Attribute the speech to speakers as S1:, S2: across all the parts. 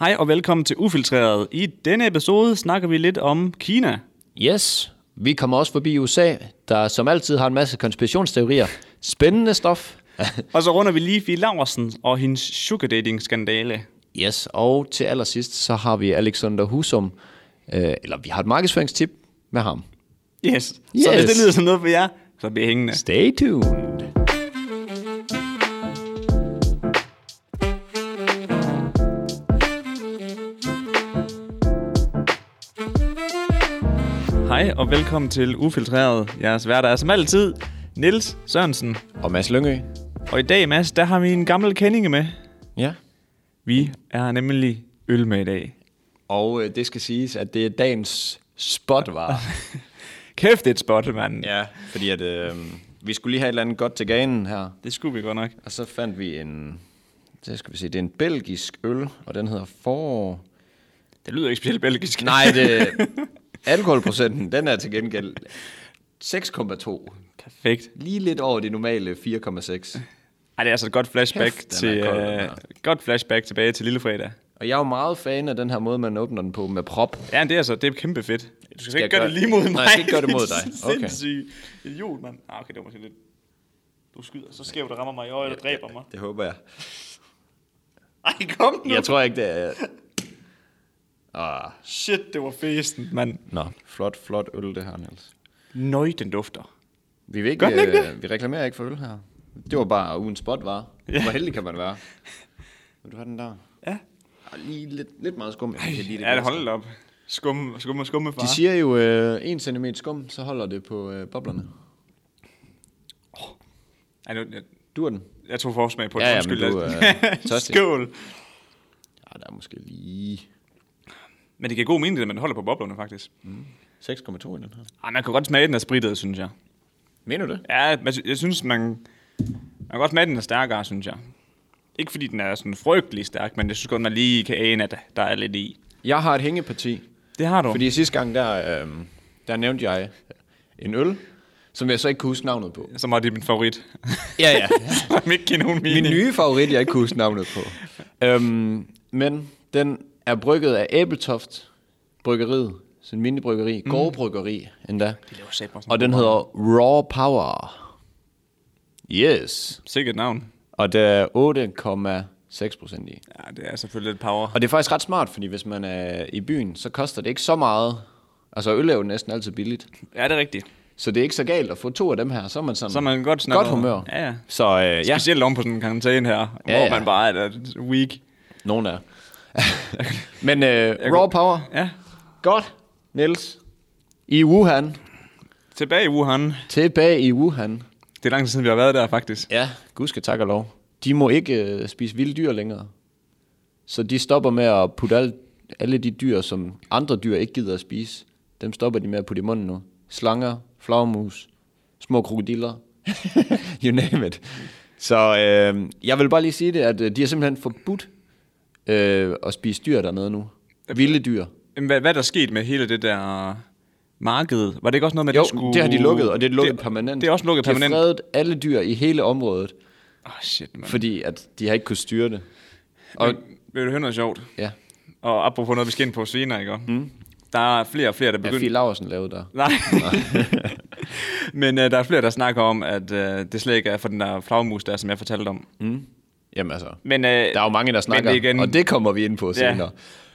S1: Hej og velkommen til Ufiltreret. I denne episode snakker vi lidt om Kina.
S2: Yes, vi kommer også forbi USA, der som altid har en masse konspirationsteorier. Spændende stof.
S1: Og så runder vi lige Fie Laversen og hendes sugar dating skandale.
S2: Yes, og til allersidst, så har vi Alexander Husum, øh, eller vi har et markedsføringstip med ham.
S1: Yes. yes. Så hvis
S2: Yes.
S1: det lyder som noget for jer, så bliver hængende.
S2: Stay tuned.
S1: Hej og velkommen til Ufiltreret. Jeres værter er som altid Nils Sørensen.
S2: Og Mads Lyngø.
S1: Og i dag, Mads, der har vi en gammel kendinge med.
S2: Ja.
S1: Vi er nemlig øl med i dag.
S2: Og øh, det skal siges, at det er dagens spot var.
S1: Kæft, det er et spot, mand. Ja.
S2: ja, fordi at, øh, vi skulle lige have et eller andet godt til ganen her.
S1: Det skulle vi godt nok.
S2: Og så fandt vi en, det skal vi se, det er en belgisk øl, og den hedder forår.
S1: Det lyder ikke specielt belgisk.
S2: Nej, det, alkoholprocenten, den er til gengæld 6,2.
S1: Perfekt.
S2: Lige lidt over det normale 4,6.
S1: Ej, det er altså et godt flashback,
S2: Kæft, den er
S1: til,
S2: kold, den
S1: øh, godt flashback tilbage til Lillefredag.
S2: Og jeg er jo meget fan af den her måde, man åbner den på med prop.
S1: Ja, men det er altså, det er kæmpe fedt. Du skal, skal ikke gøre
S2: jeg gøre-
S1: det lige mod mig.
S2: Nej, jeg skal ikke gøre det mod dig. Okay.
S1: Sindssyg idiot, mand. Ah, okay, det var måske lidt... Du skyder så skævt, der rammer mig i øjet og dræber mig.
S2: Det håber jeg.
S1: Ej, kom nu.
S2: Jeg tror ikke, det er... Ah,
S1: Shit, det var festen, mand.
S2: nå. Flot, flot øl, det her, Niels.
S1: Nøj, den dufter.
S2: Vi, vil ikke,
S1: Gør den ikke
S2: øh, vi reklamerer ikke for øl her. Det var bare ugen spot, var. Ja. Hvor heldig kan man være. Vil du have den der?
S1: Ja.
S2: Og lige lidt, lidt meget skum. Jeg kan lide
S1: Ja, det
S2: bedst.
S1: hold da op. Skum, skum og skumme, far.
S2: De siger jo, øh, 1 cm skum, så holder det på øh, boblerne.
S1: Ej, nu, jeg,
S2: Du er den.
S1: jeg tog forsmag på det.
S2: Ja, ja,
S1: Undskyld,
S2: men du,
S1: jeg-
S2: øh, tørstig.
S1: Skål.
S2: Ja, Ah, der er måske lige...
S1: Men det giver god mening, at man holder på boblerne, faktisk.
S2: 6,2 i den her.
S1: Ej, Ah, man kan godt smage, at den er spritet, synes jeg.
S2: Mener du det?
S1: Ja, men jeg sy- jeg synes, man, man kan godt smage, at den er stærkere, synes jeg. Ikke fordi den er sådan frygtelig stærk, men jeg synes godt, man lige kan ane, at der er lidt i.
S2: Jeg har et hængeparti.
S1: Det har du. Fordi...
S2: Fordi sidste gang, der, øh, der nævnte jeg en øl, som jeg så ikke kunne huske navnet på.
S1: Så var det min favorit.
S2: Ja, ja.
S1: Som ikke giver nogen mening.
S2: Min nye favorit, jeg ikke kunne huske navnet på. Øhm, men den er brygget af Æbletoft Bryggeriet. Sådan en mindre bryggeri. Mm. Gårde bryggeri endda.
S1: Det laver sæt på sådan
S2: Og den hedder Raw Power. Yes.
S1: Sikkert navn.
S2: Og der er 8,6 procent i.
S1: Ja, det er selvfølgelig lidt power.
S2: Og det er faktisk ret smart, fordi hvis man er i byen, så koster det ikke så meget. Altså øl er jo næsten altid billigt.
S1: Ja, det er rigtigt.
S2: Så det er ikke så galt at få to af dem her, så er man sådan
S1: Så er man godt snakker.
S2: godt humør.
S1: Ja, ja.
S2: Så øh, ja,
S1: Specielt oven på sådan en karantæne her, ja,
S2: Ja,
S1: hvor
S2: ja.
S1: man bare er et week.
S2: nogen er. Men øh, raw power.
S1: Ja,
S2: Godt, Niels. I Wuhan.
S1: tilbage i Wuhan.
S2: Tilbage i Wuhan.
S1: Det er lang tid siden, vi har været der, faktisk.
S2: Ja, gud skal tak og lov. De må ikke øh, spise vilde dyr længere. Så de stopper med at putte alle, alle de dyr, som andre dyr ikke gider at spise. Dem stopper de med at putte i munden nu. Slanger, flagermus, små krokodiller. you name it. Så øh, jeg vil bare lige sige det, at øh, de har simpelthen forbudt øh, at spise dyr dernede nu. Vilde dyr.
S1: Jamen, Hvad, hvad er der sket med hele det der marked? Var det ikke også noget med, at
S2: Jo,
S1: det skulle...
S2: det har de lukket, og det er lukket det, permanent.
S1: Det er også lukket permanent.
S2: De har fredet alle dyr i hele området,
S1: Åh, oh, shit, mand.
S2: fordi at de har ikke kunnet styre det.
S1: Og
S2: Og-
S1: vil du høre noget sjovt?
S2: Ja,
S1: Og apropos noget, vi skal ind på senere, ikke? Mm. Der er flere og flere, der
S2: ja
S1: begynder...
S2: Fie Laversen lavede der.
S1: Nej. Men uh, der er flere, der snakker om, at uh, det slet ikke er for den der flagmus der, som jeg fortalte om.
S2: Jamen altså,
S1: Men, uh,
S2: Mm. der er jo mange, der snakker,
S1: men igen,
S2: og det kommer vi ind på
S1: Ja.
S2: senere.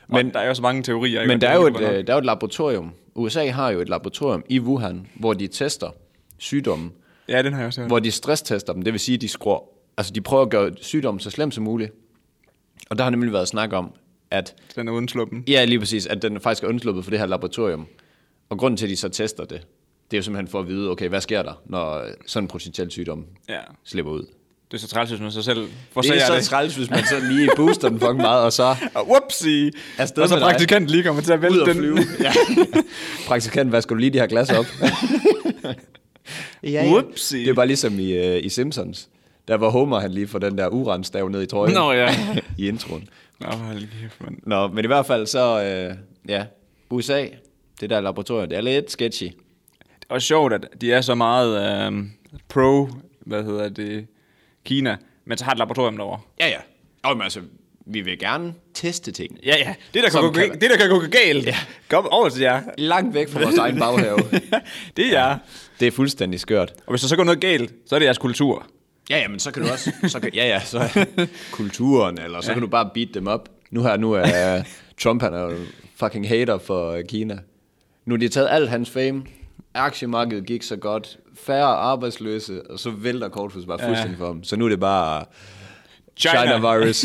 S1: men, og der er jo så mange teorier. ikke?
S2: Men
S1: Og
S2: der
S1: det
S2: er, jo et,
S1: godt nok.
S2: øh, der er jo et laboratorium. USA har jo et laboratorium i Wuhan, hvor de tester sygdommen,
S1: Ja, den har jeg også hørt.
S2: hvor de stresstester dem. Det vil sige, at de skruer, altså de prøver at gøre sygdommen så slem som muligt. Og der har nemlig været snak om, at
S1: Den er uden sluppen.
S2: Ja, lige præcis, at den faktisk er undsluppet for det her laboratorium. Og grunden til, at de så tester det, det er jo simpelthen for at vide, okay, hvad sker der, når sådan en potentiel sygdom
S1: Ja.
S2: slipper ud.
S1: Det er så træls, hvis man sig selv
S2: Det
S1: forsager
S2: er
S1: det.
S2: så træls, hvis man så lige booster den fucking meget, og så
S1: Og whoopsie!
S2: Afsted
S1: og så
S2: med dig.
S1: praktikanten lige kommer til at
S2: ud
S1: vælte
S2: og
S1: den.
S2: flyve. Ja. Praktikant, vasker du lige de her glas op? ja,
S1: Whoopsie.
S2: Det er bare ligesom i, øh, i Simpsons. Der var Homer, han lige får den der uranstav ned i trøjen
S1: Nå, ja.
S2: i introen.
S1: Nå, hold kæft, mand.
S2: Nå, men i hvert fald så, øh, ja, USA, det der laboratorium, det er lidt sketchy.
S1: Og sjovt, at de er så meget øh, pro, hvad hedder det, Kina, men så har et laboratorium derovre.
S2: Ja, ja. Og, men altså, vi vil gerne teste ting.
S1: Ja, ja. Det, der kan,
S2: Som
S1: gå,
S2: kan-
S1: det, der kan gå galt, ja. kom over til jer.
S2: Langt væk fra vores egen baghave.
S1: det er jer.
S2: Det er fuldstændig skørt.
S1: Og hvis der så går noget galt, så er det jeres kultur.
S2: Ja, ja, men så kan du også... Så kan, ja, ja, så kulturen, eller så ja. kan du bare beat dem op. Nu her, nu er Trump, han er jo fucking hater for øh, Kina. Nu har de taget alt hans fame. Aktiemarkedet gik så godt. Færre arbejdsløse, og så vælter kortfus bare fuldstændig for dem. Så nu er det bare China, China virus.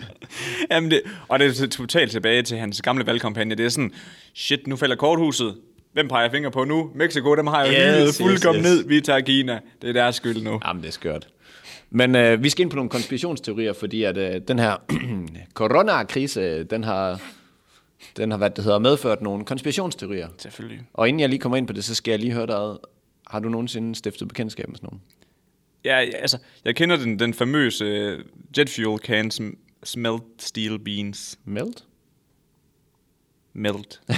S1: Jamen det, og det er totalt tilbage til hans gamle valgkampagne. Det er sådan, shit, nu falder korthuset. Hvem peger jeg fingre på nu? Mexico, dem har jeg
S2: Yes,
S1: jo yes,
S2: yes,
S1: fuldkommen
S2: yes.
S1: yes, ned. Vi tager Kina. Det er deres skyld nu.
S2: Jamen, det er skørt. Men øh, vi skal ind på nogle konspirationsteorier, fordi at øh, den her coronakrise, øh, den har, den har hvad det hedder, medført nogle konspirationsteorier.
S1: Selvfølgelig.
S2: Og inden jeg lige kommer ind på det, så skal jeg lige høre dig ad. Har du nogensinde stiftet bekendtskab med sådan nogen?
S1: Ja, ja, altså, jeg kender den, den famøse øh, jet fuel can sm- smelt steel beans.
S2: Melt?
S1: Melt.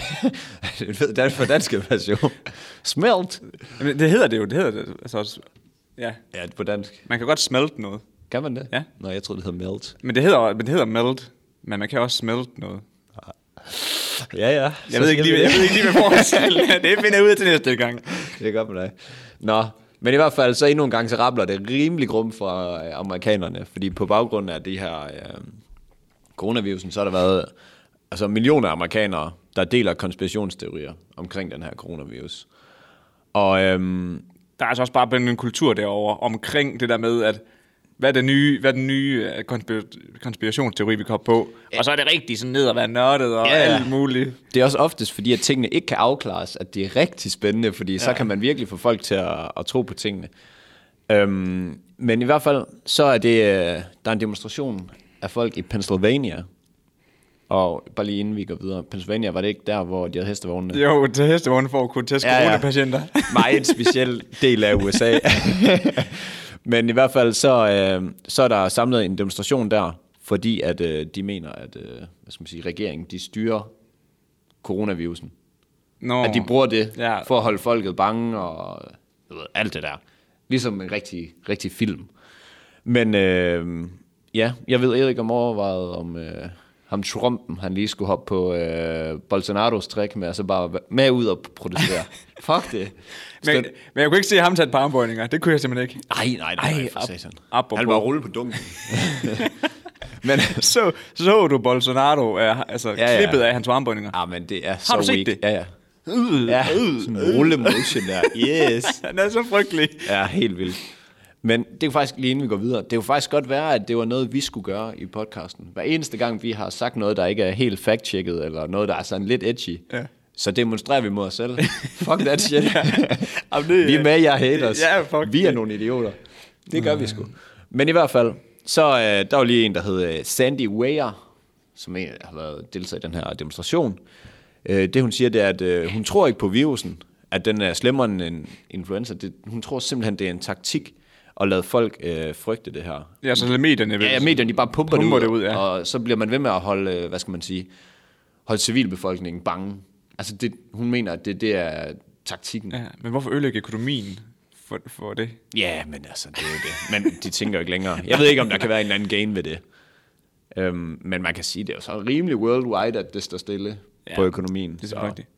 S2: det er for danske version. Smelt?
S1: Jamen, det hedder det jo. Det hedder det. Altså, også- ja,
S2: Ja, på dansk.
S1: man kan godt smelte noget.
S2: Kan man det?
S1: Ja.
S2: Nå, jeg tror det hedder melt.
S1: Men det hedder, men det hedder melt. Men man kan også smelte noget.
S2: Ja, ja.
S1: Jeg ved, ikke lige, jeg ved ikke lige, hvad forskellen er. Det finder jeg ud af til næste gang.
S2: Det er godt med dig. Nå, men i hvert fald så endnu en gang, så rabler det rimelig grum fra øh, amerikanerne, fordi på baggrund af det her øh, coronavirusen, så har der været altså millioner af amerikanere, der deler konspirationsteorier omkring den her coronavirus. Og øhm,
S1: Der er altså også bare blevet en kultur derover omkring det der med, at hvad er, det nye, hvad er den nye øh, konspir- konspirationsteori, vi kommer på? Og så er det rigtig sådan ned og være nørdet og
S2: Ja.
S1: alt muligt.
S2: det er også oftest fordi, at tingene ikke kan afklares, at det er rigtig spændende, fordi ja. så kan man virkelig få folk til at, at tro på tingene. Øhm, men i hvert fald, så er det, øh, der er en demonstration af folk i Pennsylvania. Og bare lige inden vi går videre, Pennsylvania var det ikke der, hvor de havde hestevognene?
S1: Jo, til hestevogne for at kunne teste ja, coronapatienter.
S2: Meget speciel del af USA. Men i hvert fald, så, øh, så er der samlet en demonstration der, fordi at øh, de mener, at øh, hvad skal man sige, regeringen de styrer coronavirusen.
S1: Nå,
S2: At de bruger det ja.
S1: Ja.
S2: for at holde folket bange og jeg ved, alt det der. Ligesom en rigtig, rigtig film. Men øh, ja, jeg ved Erik om overvejet om øh, ham Trumpen, han lige skulle hoppe på øh, Bolsonaros trick med at så bare være med ud og protestere. Fuck det.
S1: men, men jeg kunne ikke se ham tage et par armbøjninger. Det kunne jeg simpelthen ikke.
S2: Ej, nej, nej,
S1: Ej,
S2: for
S1: ap-
S2: satan.
S1: apropos.
S2: Han var rulle på dunken. men,
S1: Så, så du Bolsonaro, uh, altså ja,
S2: ja.
S1: ja. klippet af hans armbøjninger?
S2: ah, men det er så
S1: du set
S2: weak.
S1: det?
S2: Ja, ja.
S1: Øh,
S2: Ja, sådan en rulle motion der. Yes.
S1: Den er så frygtelig.
S2: Ja, helt vildt. Men det kunne faktisk, lige inden vi går videre, det kunne faktisk godt være, at det var noget, vi skulle gøre i podcasten. Hver eneste gang, vi har sagt noget, der ikke er helt fact-checket, eller noget, der er sådan lidt edgy, ja. så demonstrerer vi mod os selv. fuck that shit.
S1: Jamen, det-
S2: vi er med, jeg haters.
S1: Ja, fuck
S2: vi er
S1: det.
S2: nogle idioter. Det gør vi sgu. Men i hvert fald, så øh, der var lige en, der hed øh, Sandy Weir, som en, har været deltaget i den her demonstration. Øh, det hun siger, det er, at øh, hun tror ikke på virusen, at den er slemmere end en influenza. Det, hun tror simpelthen, det er en taktik at lade folk øh, frygte det her.
S1: Ja, så er medierne. vil
S2: Ja, ja, medierne de bare pumper,
S1: Pumper
S2: det ud,
S1: det ud, ja.
S2: og så bliver man ved med at holde, øh, hvad skal man sige, holde civilbefolkningen bange. Altså det, hun mener, at det, det er taktikken. Ja.
S1: Ja, men hvorfor ødelægge økonomien for, for det?
S2: ja, men altså, det er jo det. Men de tænker jo ikke længere. Jeg ved ikke, om der kan være en eller anden gain ved det. Øhm, men man kan sige, det er jo så rimelig worldwide, at det står stille ja. på økonomien.
S1: Det er
S2: Så-
S1: så rigtigt.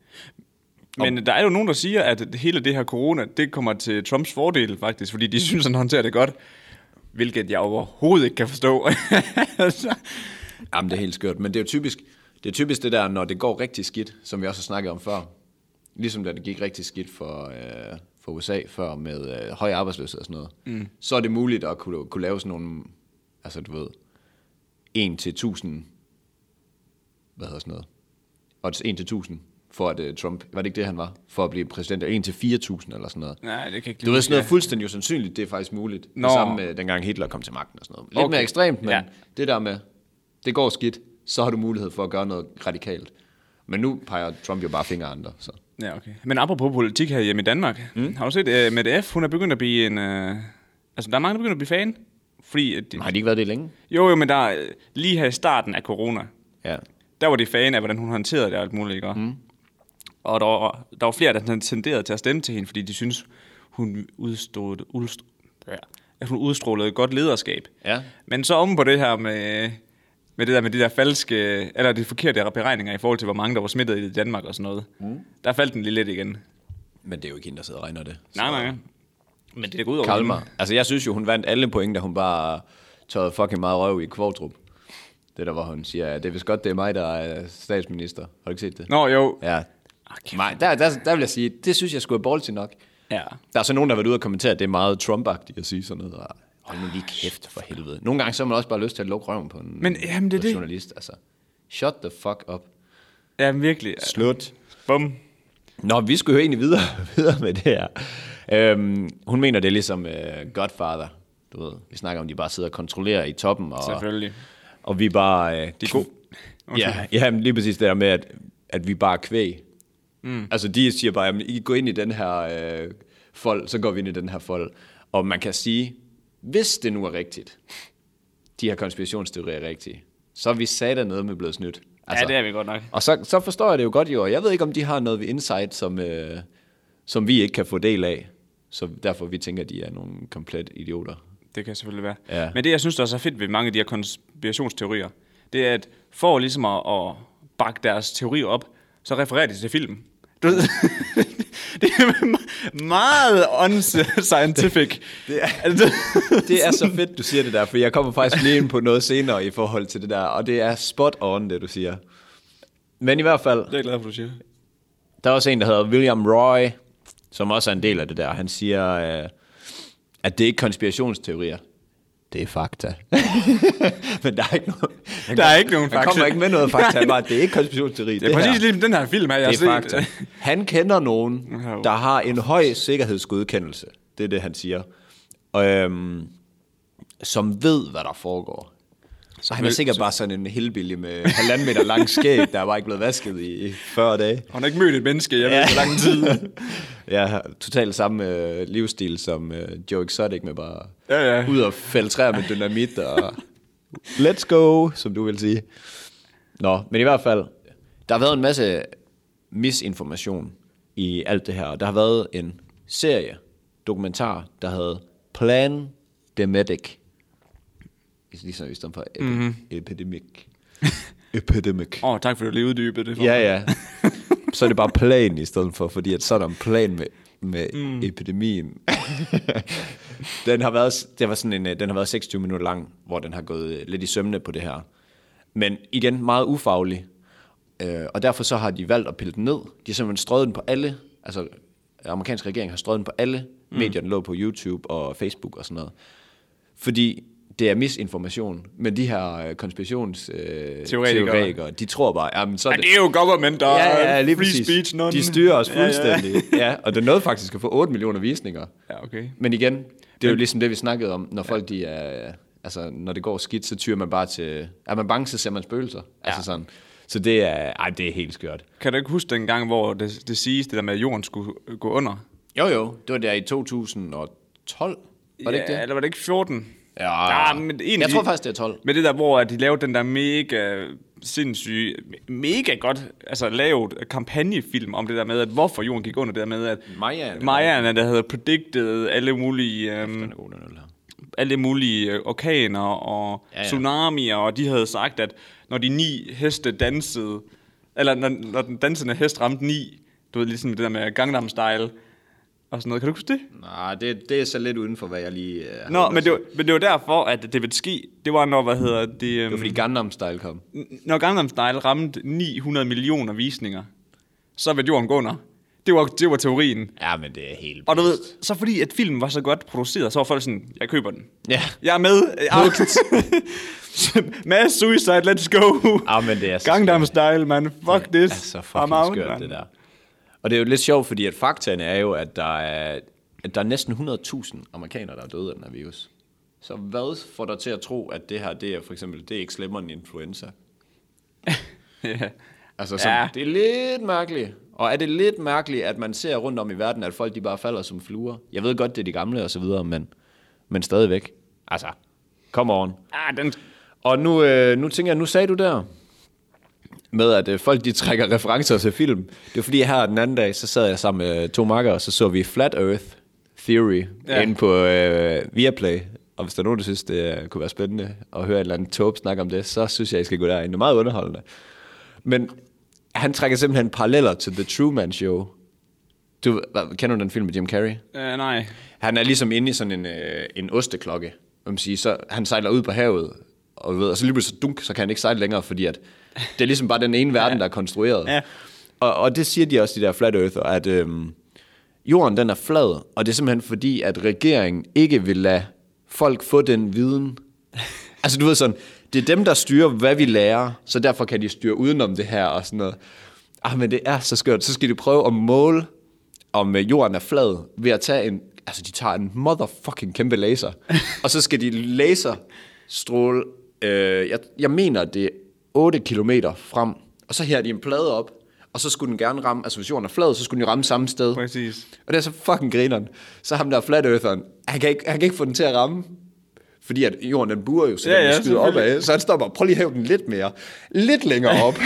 S1: Men der er jo nogen, der siger, at hele det her corona, det kommer til Trumps fordel faktisk, fordi de synes, han håndterer det godt. Hvilket jeg overhovedet ikke kan forstå. Så-
S2: Jamen, det er helt skørt. Men det er jo typisk det, er typisk det der, når det går rigtig skidt, som vi også har snakket om før. Ligesom da det gik rigtig skidt for, øh, for USA før med øh, høj arbejdsløshed og sådan noget. Mm. Så er det muligt at kunne, kunne lave sådan nogle, altså du ved, 1 til 1000, hvad hedder sådan noget? Odds 1 til 1000 for at øh, Trump, var det ikke det han var? For at blive præsident, og 1 til 4000 eller sådan noget.
S1: Nej, det kan jeg ikke
S2: Du ved,
S1: lide.
S2: sådan noget fuldstændig usandsynligt, det er faktisk muligt. Nå.
S1: Nå.
S2: Det samme med dengang Hitler kom til magten og sådan noget. Lidt okay.
S1: Okay.
S2: mere ekstremt, men ja.
S1: Ja.
S2: det der med, det går skidt, så har du mulighed for at gøre noget radikalt. Men nu peger Trump jo bare fingre af andre, så.
S1: Ja, okay. Men apropos politik her hjemme i Danmark. Mm. Har du set, uh, Mette F, hun er begyndt at blive en... Uh, altså, der er mange, der begynder at blive fan. Fordi, at,
S2: Har de ikke været det længe?
S1: jo, jo, men der, er, øh, lige her i starten af corona,
S2: Ja.
S1: der var de fan af, hvordan hun håndterede det og alt muligt, ikke? Mm. Og der var, der var flere, der tenderede til at stemme til hende, fordi de synes hun udstod, udstod, at hun udstrålede godt lederskab.
S2: Ja.
S1: Men så om på det her med, med det der med de der falske, eller de forkerte beregninger i forhold til, hvor mange der var smittet i Danmark og sådan noget. Mm. Der faldt den lige lidt igen.
S2: Men det er jo ikke hende, der sidder og regner det.
S1: Nej, nej. Men det er da gået over.
S3: Kalmar.
S2: Altså, jeg synes jo, hun vandt alle point, da hun bare tørrede fucking meget røv i Kvartrup. Det der, hvor hun siger, det er vist godt, det er mig, der er statsminister. Har du ikke set det?
S1: Nå, jo.
S2: Ja. Nej, der, der, der vil jeg sige, det synes jeg skulle er ballsy nok.
S1: Ja.
S2: Der er så nogen, der har været ude og kommentere, at det er meget trump at sige sådan noget. Og hold nu lige kæft for helvede. Nogle gange så har man også bare lyst til at lukke røven på en
S1: Men, jamen, det er
S2: på en
S1: det.
S2: journalist. Altså, shut the fuck up.
S1: Ja, men virkelig.
S2: Slut.
S1: Bum.
S2: Nå, vi skulle jo egentlig videre, videre med det her. Øhm, hun mener, det er ligesom øh, Godfather. Du ved, vi snakker om, de bare sidder og kontrollerer i toppen. Og,
S1: Selvfølgelig.
S2: Og vi bare... Øh,
S1: De er gode.
S2: Ja, ja, men lige præcis det der med, at, at vi bare er kvæg. Mm. Altså, de siger bare, at I går ind i den her øh, fold, så går vi ind i den her fold. Og man kan sige, hvis det nu er rigtigt, de her konspirationsteorier er rigtige, så er vi sat noget med blevet snydt.
S1: Altså. Ja, det er vi godt nok.
S2: Og så, så forstår jeg det jo godt jo, og jeg ved ikke, om de har noget ved insight, som, øh, som vi ikke kan få del af. Så derfor vi tænker, at de er nogle komplet idioter.
S1: Det kan selvfølgelig være.
S2: Ja.
S1: Ja. Men det, jeg synes, der er så fedt ved mange af de her konspirationsteorier, det er, at for ligesom at, at bakke deres teorier op, så refererer de til film. Du ved, det er me- meget unscientific.
S2: det er-
S1: Altså,
S2: Det er så fedt, du siger det der, for jeg kommer faktisk lige ind på noget senere i forhold til det der, og det er spot on, det du siger. Men i hvert fald,
S1: Det er jeg glad for, du siger.
S2: der er også en, der hedder William Roy, som også er en del af det der. Han siger, øh, at det ikke er konspirationsteorier. Det er fakta. Men der er ikke nogen, han
S1: Der er
S2: kom-
S1: ikke nogen
S2: Han
S1: fakta.
S2: kommer ikke med noget fakta, han bare, det er ikke konspirationsteori.
S1: Det er
S2: her."
S1: præcis ligesom den her film her, jeg
S2: Det er
S1: har set.
S2: fakta. Han kender nogen,
S1: Jo.
S2: der har en høj sikkerhedsgodkendelse. Det er det, han siger. Øhm, som ved, hvad der foregår. Så han er
S1: vil-
S2: sikkert bare sådan en helbillig med halvanden meter lang skæg, der var ikke blevet vasket i i 40 dage.
S1: Hun har ikke mødt et menneske, jeg ja. ved ikke, hvor lang tid.
S2: ja, totalt samme øh, livsstil som øh, Joe Exotic med bare
S1: Ja, ja.
S2: ud og fælde træer med dynamit og let's go, som du vil sige. Nå, men i hvert fald, der har været en masse misinformation i alt det her. og Der har været en serie, dokumentar, der havde Plan Demetic. Ligesom i stedet for epi-
S1: Mhm.
S2: mm-hmm. epidemic. epidemic.
S1: Åh, oh, tak for at du lige uddybede det. for mig.
S2: Ja, ja. Så er det bare plan i stedet for, fordi at så er der en plan med, med mm. epidemien. den, har været, det var sådan en, øh, den har været 26 minutter lang, hvor den har gået øh, lidt i sømne på det her. Men igen, meget ufaglig. Øh, og derfor så har de valgt at pille den ned. De har simpelthen strøget den på alle, altså den amerikanske regering har strøget den på alle mm. medier, den lå på YouTube og Facebook og sådan noget. Fordi det er misinformation, men de her konspirationsteoretikere, øh,
S1: Teoretikere.
S2: teoretikere, de tror bare, jamen så er
S1: Ja,
S2: det,
S1: det er jo government og
S2: ja, ja, lige
S1: free
S2: præcis.
S1: speech. None.
S2: De styrer os
S1: Ja,
S2: fuldstændig. Ja, ja. ja, og det nåede faktisk at få 8 millioner visninger.
S1: ja. ja okay.
S2: Men igen, det er jo ligesom det, vi snakkede om, når folk de er, altså når det går skidt, så tyrer man bare til, er man bange, så ser man spøgelser. Ja. Altså sådan. Så det er, ej, det er helt skørt.
S1: Kan du ikke huske den gang, hvor det, det siges, det der med, at jorden skulle øh, gå under?
S2: Jo jo, det var der i 2012, var det
S1: ja,
S2: ikke det?
S1: eller var det ikke 14?
S2: Ja,
S1: Ja, men egentlig-
S2: jeg tror faktisk, det er 12.
S1: Med det der, hvor at de lavede den der mega sindssyge, mega godt altså, lavet kampagnefilm om det der med, at hvorfor jorden gik under, det der med, at
S2: Mayaerne.
S1: Mayaerne, der havde predicted alle mulige, øhm,
S2: Den er god, den øl her.
S1: alle mulige øh, orkaner og
S2: Ja,
S1: ja,
S2: ja.
S1: ja. tsunamier, og de havde sagt, at når de ni heste dansede, eller når, når den dansende hest ramte ni, du ved, ligesom det der med Gangnam Style og sådan noget. Kan du huske det?
S2: Nej, det, det er så lidt uden for, hvad jeg lige... Øh, har
S1: Nå,
S2: lyst
S1: men det,
S2: til.
S1: var, men det var derfor, at det ville ske. Det var, når, hvad hedder det... øhm,
S2: det var fordi Gangnam Style kom.
S1: N- når Gangnam Style ramte 900 millioner visninger, så ville jorden gå under. Det var, det var teorien.
S2: Ja, men det er helt...
S1: Og du ved, så fordi at filmen var så godt produceret, så var folk sådan, jeg køber den.
S2: Ja.
S1: Jeg er med. Mass suicide, let's go.
S2: Ah, men det er så
S1: Gangnam Style, man. Fuck this.
S2: Det er så
S1: I'm
S2: fucking
S1: out,
S2: skørt,
S1: man.
S2: det der. Og det er jo lidt sjovt, fordi at faktaen er jo, at der er, at der er næsten 100.000 amerikanere, der er døde af den her virus. Så hvad får dig til at tro, at det her, det er for eksempel, det er ikke slemmere end influenza?
S1: Ja.
S2: Altså, som, ja.
S1: Ja.
S2: det er lidt mærkeligt. Og er det lidt mærkeligt, at man ser rundt om i verden, at folk de bare falder som fluer? Jeg ved godt, det er de gamle og så videre, men, men stadigvæk. Altså, come on.
S1: Ah, den,
S2: Og nu, øh, nu tænker jeg, nu sagde du der med, at øh, folk de trækker referencer til film. Det var fordi her den anden dag, så sad jeg sammen øh, med to makker, og så så vi Flat Earth Theory ja.
S1: Ja.
S2: inde på øh, Viaplay. Og hvis der er nogen, der synes, det øh, kunne være spændende at høre et eller andet tåb snakke om det, så synes jeg, I skal gå derind. Det er meget underholdende. Men han trækker simpelthen paralleller til The Truman Show. Du, hvad- kender du den film med Jim Carrey?
S1: Uh, nej.
S2: Han er ligesom inde i sådan en, øh, en osteklokke. Om sige, så han sejler ud på havet, og, du ved, og så lige pludselig så dunk, så kan han ikke sejle længere, fordi at det er ligesom bare den ene verden, der er konstrueret.
S1: Ja.
S2: Og, og det siger de også, de der flat earther, at øhm, jorden den er flad, og det er simpelthen fordi, at regeringen ikke vil lade folk få den viden. Altså du ved sådan, det er dem, der styrer, hvad vi lærer, så derfor kan de styre udenom det her og sådan noget. Ah, men det er så skørt. Så skal de prøve at måle, om øh, jorden er flad, ved at tage en, altså de tager en motherfucking kæmpe laser, og så skal de laserstråle, øh, jeg, jeg mener det er 8 kilometer frem, og så her de en plade op, og så skulle den gerne ramme, altså hvis jorden er flad, så skulle den jo ramme samme sted.
S1: Præcis.
S2: Og det er så fucking grineren. Så ham der flat eartheren, han kan, ikke, han kan ikke få den til at ramme. Fordi at jorden den burer jo, så
S1: Ja,
S2: ja, den
S1: ja,
S2: ja, skyder
S1: selvfølgelig.
S2: opad. Så han stopper, prøv lige at hæve den lidt mere. Lidt længere op.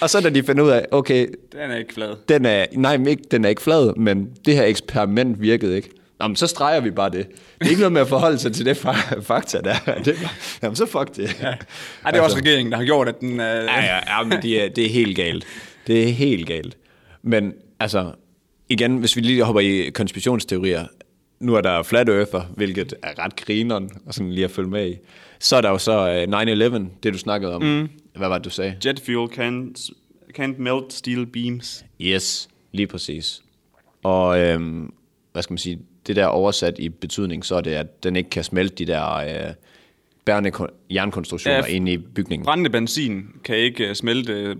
S2: og så da de finder ud af, okay,
S1: Den er ikke flad. Ah,
S2: den er, nej, men ikke, den er ikke flad, men det her eksperiment virkede ikke. Jamen, så streger vi bare det. Det er ikke noget med at forholde sig til det fa- fakta, der er. Det er bare, jamen, så fuck det. Ja.
S1: Ej, det er også regeringen, der har gjort, at den... Uh,
S2: Altså- Ja, ja, ja men det er, det er helt galt. Det er helt galt. Men altså, igen, hvis vi lige hopper i konspirationsteorier, nu er der flat earther, hvilket er ret grineren, og sådan lige at følge med i. Så er der jo så øh, 9-11, det du snakkede om. Mm. Hvad var det, du sagde?
S1: Jet fuel can't, can't melt steel beams.
S2: Yes, lige præcis. Og øhm, hvad skal man sige, det der oversat i betydning, så er det, at den ikke kan smelte de der øh, bærende kon- jernkonstruktioner
S1: Ja,
S2: ja,
S1: f-
S2: inde i bygningen.
S1: Brændende benzin kan ikke øh, smelte, øh,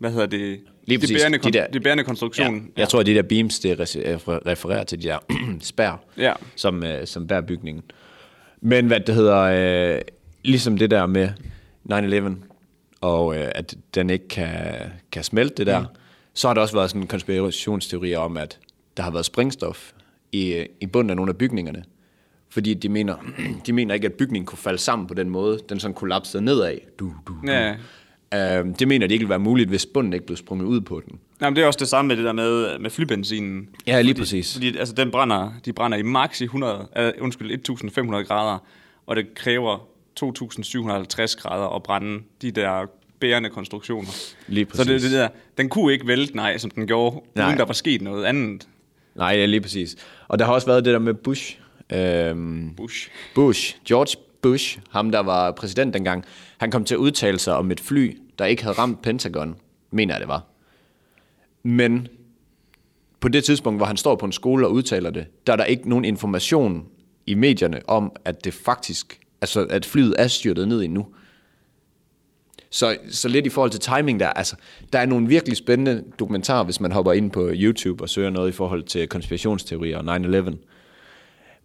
S1: hvad hedder det,
S2: Lige
S1: det,
S2: præcis,
S1: bærende,
S2: de
S1: kon-
S2: der-
S1: det bærende konstruktion.
S2: Jeg tror, at de der beams, det res- øh, refererer til de der spær,
S1: Ja.
S2: som, øh, som bærer bygningen. Men hvad det hedder, øh, ligesom det der med 9-11, og øh, at den ikke kan, kan smelte det der, mm. så har der også været sådan en konspirationsteori om, at der har været springstof i, øh, i bunden af nogle af bygningerne. Fordi de mener, de mener ikke, at bygningen kunne falde sammen på den måde. Den sådan kollapsede nedad. Du, du, du.
S1: Ja.
S2: Øhm, det mener de ikke ville være muligt, hvis bunden ikke blev sprunget ud på den.
S1: Nej, men det er også det samme med det der med, med flybenzinen.
S2: Ja, lige præcis.
S1: Fordi altså, den brænder, de brænder i max i 100, uh, undskyld, 1500 grader, og det kræver 2750 grader at brænde de der bærende konstruktioner.
S2: Lige
S1: Så det,
S2: præcis.
S1: det der, den kunne ikke vælte, nej, som den gjorde, nej.
S2: Nej.
S1: uden der var sket noget andet.
S2: Nej, ja, lige præcis. Og der har også været det der med Bush. Øhm,
S1: Bush.
S2: Bush, George Bush, ham der var præsident dengang, han kom til at udtale sig om et fly, der ikke havde ramt Pentagon, mener jeg det var. Men på det tidspunkt, hvor han står på en skole og udtaler det, der er der ikke nogen information i medierne om, at det faktisk, altså at flyet er styrtet ned endnu. Så, så lidt i forhold til timing der, altså, der er nogle virkelig spændende dokumentarer, hvis man hopper ind på YouTube og søger noget i forhold til konspirationsteorier og 9-11.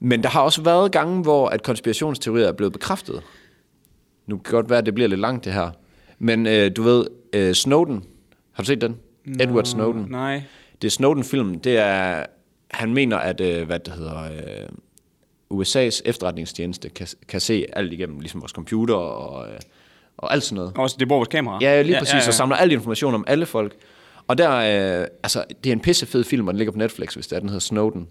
S2: Men der har også været gange, hvor at konspirationsteorier er blevet bekræftet. Nu kan godt være, at det bliver lidt langt det her. Men øh, du ved, øh, Snowden, har du set den? No. Edward Snowden.
S1: Nej.
S2: Det er Snowden-filmen, det er... Han mener, at øh, hvad det hedder, øh, USA's efterretningstjeneste kan, kan se alt igennem, ligesom vores computer og, øh, og alt sådan noget.
S1: Også det bruger vores kamera.
S2: Ja, lige præcis, ja, ja, ja. og samler al information om alle folk. Og der, øh, altså, det er en pissefed film, og den ligger på Netflix, hvis det er, den hedder Snowden.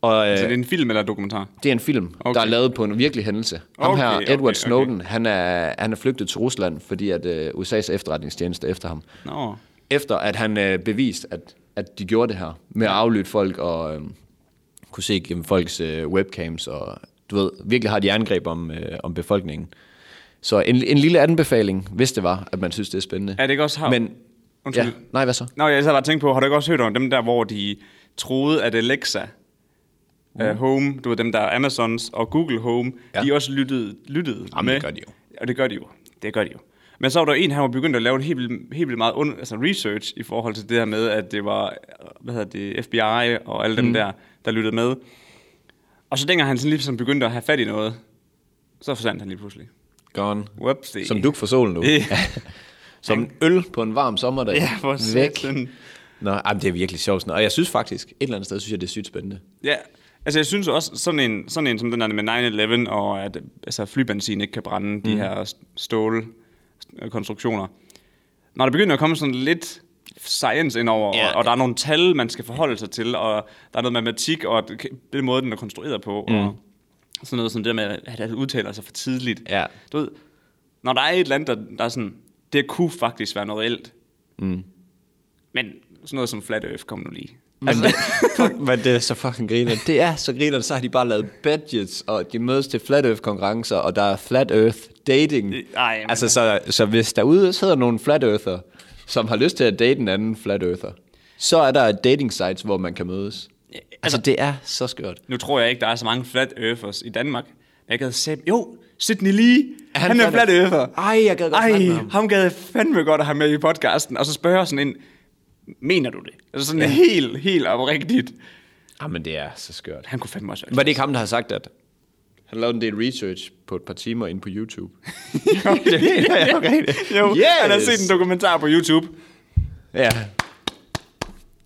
S2: Og, øh,
S1: Så det er en film eller dokumentar?
S2: det er en film,
S1: Okay.
S2: okay. der er lavet på en virkelig hændelse. Ham
S1: Okay,
S2: her,
S1: okay,
S2: Edward
S1: okay.
S2: Snowden, Han, er, han er flygtet til Rusland, fordi at øh, USA's efterretningstjeneste er efter ham.
S1: Nå.
S2: Efter at han øh, beviste, at, at de gjorde det her med at aflytte folk og øh, kunne se gennem folks øh, webcams. Og du ved, virkelig har de angreb om, øh, om befolkningen. Så en, en lille anbefaling, hvis det var, at man synes, det er spændende.
S1: Er det ikke også har...
S2: Men,
S1: Undskyld.
S2: ja, nej, hvad så?
S1: Nå, jeg så bare tænkt på, har du ikke også hørt om dem der, hvor de troede, at Alexa mm. uh, Home, du ved dem der er Amazons og Google Home, ja.
S2: Ja.
S1: de også lyttede, lyttede
S2: Jamen,
S1: med.
S2: det gør de jo.
S1: Og det gør de jo. Det gør de jo. Men så var der en, han var begyndt at lave en helt, vildt- helt vildt meget und, altså research i forhold til det her med, at det var hvad hedder det, FBI og alle dem
S2: Mm.
S1: der, der lyttede med. Og så dengang han sådan ligesom begyndte at have fat i noget, så forsvandt han lige pludselig.
S2: Gone.
S1: Whoopsie.
S2: Som duk for solen nu.
S1: Ja.
S2: Som øl på en varm sommerdag.
S1: Ja, for
S2: Væk.
S1: satan.
S2: Nå, ej, men det er virkelig sjovt. Sådan. noget. Og jeg synes faktisk, et eller andet sted, synes jeg, det er sygt spændende.
S1: Ja, altså jeg synes også, sådan en, sådan en som den der med 9-11, og at altså, flybenzin ikke kan brænde mm. de her stålkonstruktioner. Når der begynder at komme sådan lidt science indover, ja,
S2: Ja.
S1: og, og der er nogle tal, man skal forholde sig til, og der er noget matematik, og det- den måde, den er konstrueret på, mm. og Sådan noget som det der med, at han udtaler sig for tidligt.
S2: Ja.
S1: Du ved, når der er et eller andet, der, der er sådan, det kunne faktisk være noget reelt. Mm. Men sådan noget som Flat Earth kom nu lige.
S2: Men, det, Altså, fuck, men det er så fucking griner. Det er så griner, så har de bare lavet budgets, og de mødes til Flat Earth konkurrencer, og der er Flat Earth dating.
S1: Ej, men-
S2: altså, så, så hvis derude sidder nogle Flat Earther, som har lyst til at date en anden Flat Earther, så er der dating sites, hvor man kan mødes.
S1: Ja,
S2: Altså, altså det er så skørt.
S1: Nu tror jeg ikke, der er så mange Flat Earthers i Danmark. Men jeg gad se, jo, Sidney Lee,
S2: Er
S1: han,
S2: han
S1: han er
S2: Flat
S1: Flat
S2: Earther?
S1: Earther.
S2: Ej, jeg gad godt
S1: Ej,
S2: snakke med ham.
S1: ham gad jeg fandme godt at have med i podcasten. Og så spørger jeg sådan en, mener du det? Altså sådan ja. helt, helt oprigtigt.
S2: Jamen, Ah, det er så skørt.
S1: Han kunne fandme også
S2: Var det ikke ham, der har sagt, at han lavede en del research på et par timer inde på YouTube?
S1: det
S2: mener jeg, okay.
S1: Jo, yes. han har
S2: Yes.
S1: set en dokumentar på YouTube.
S2: Ja.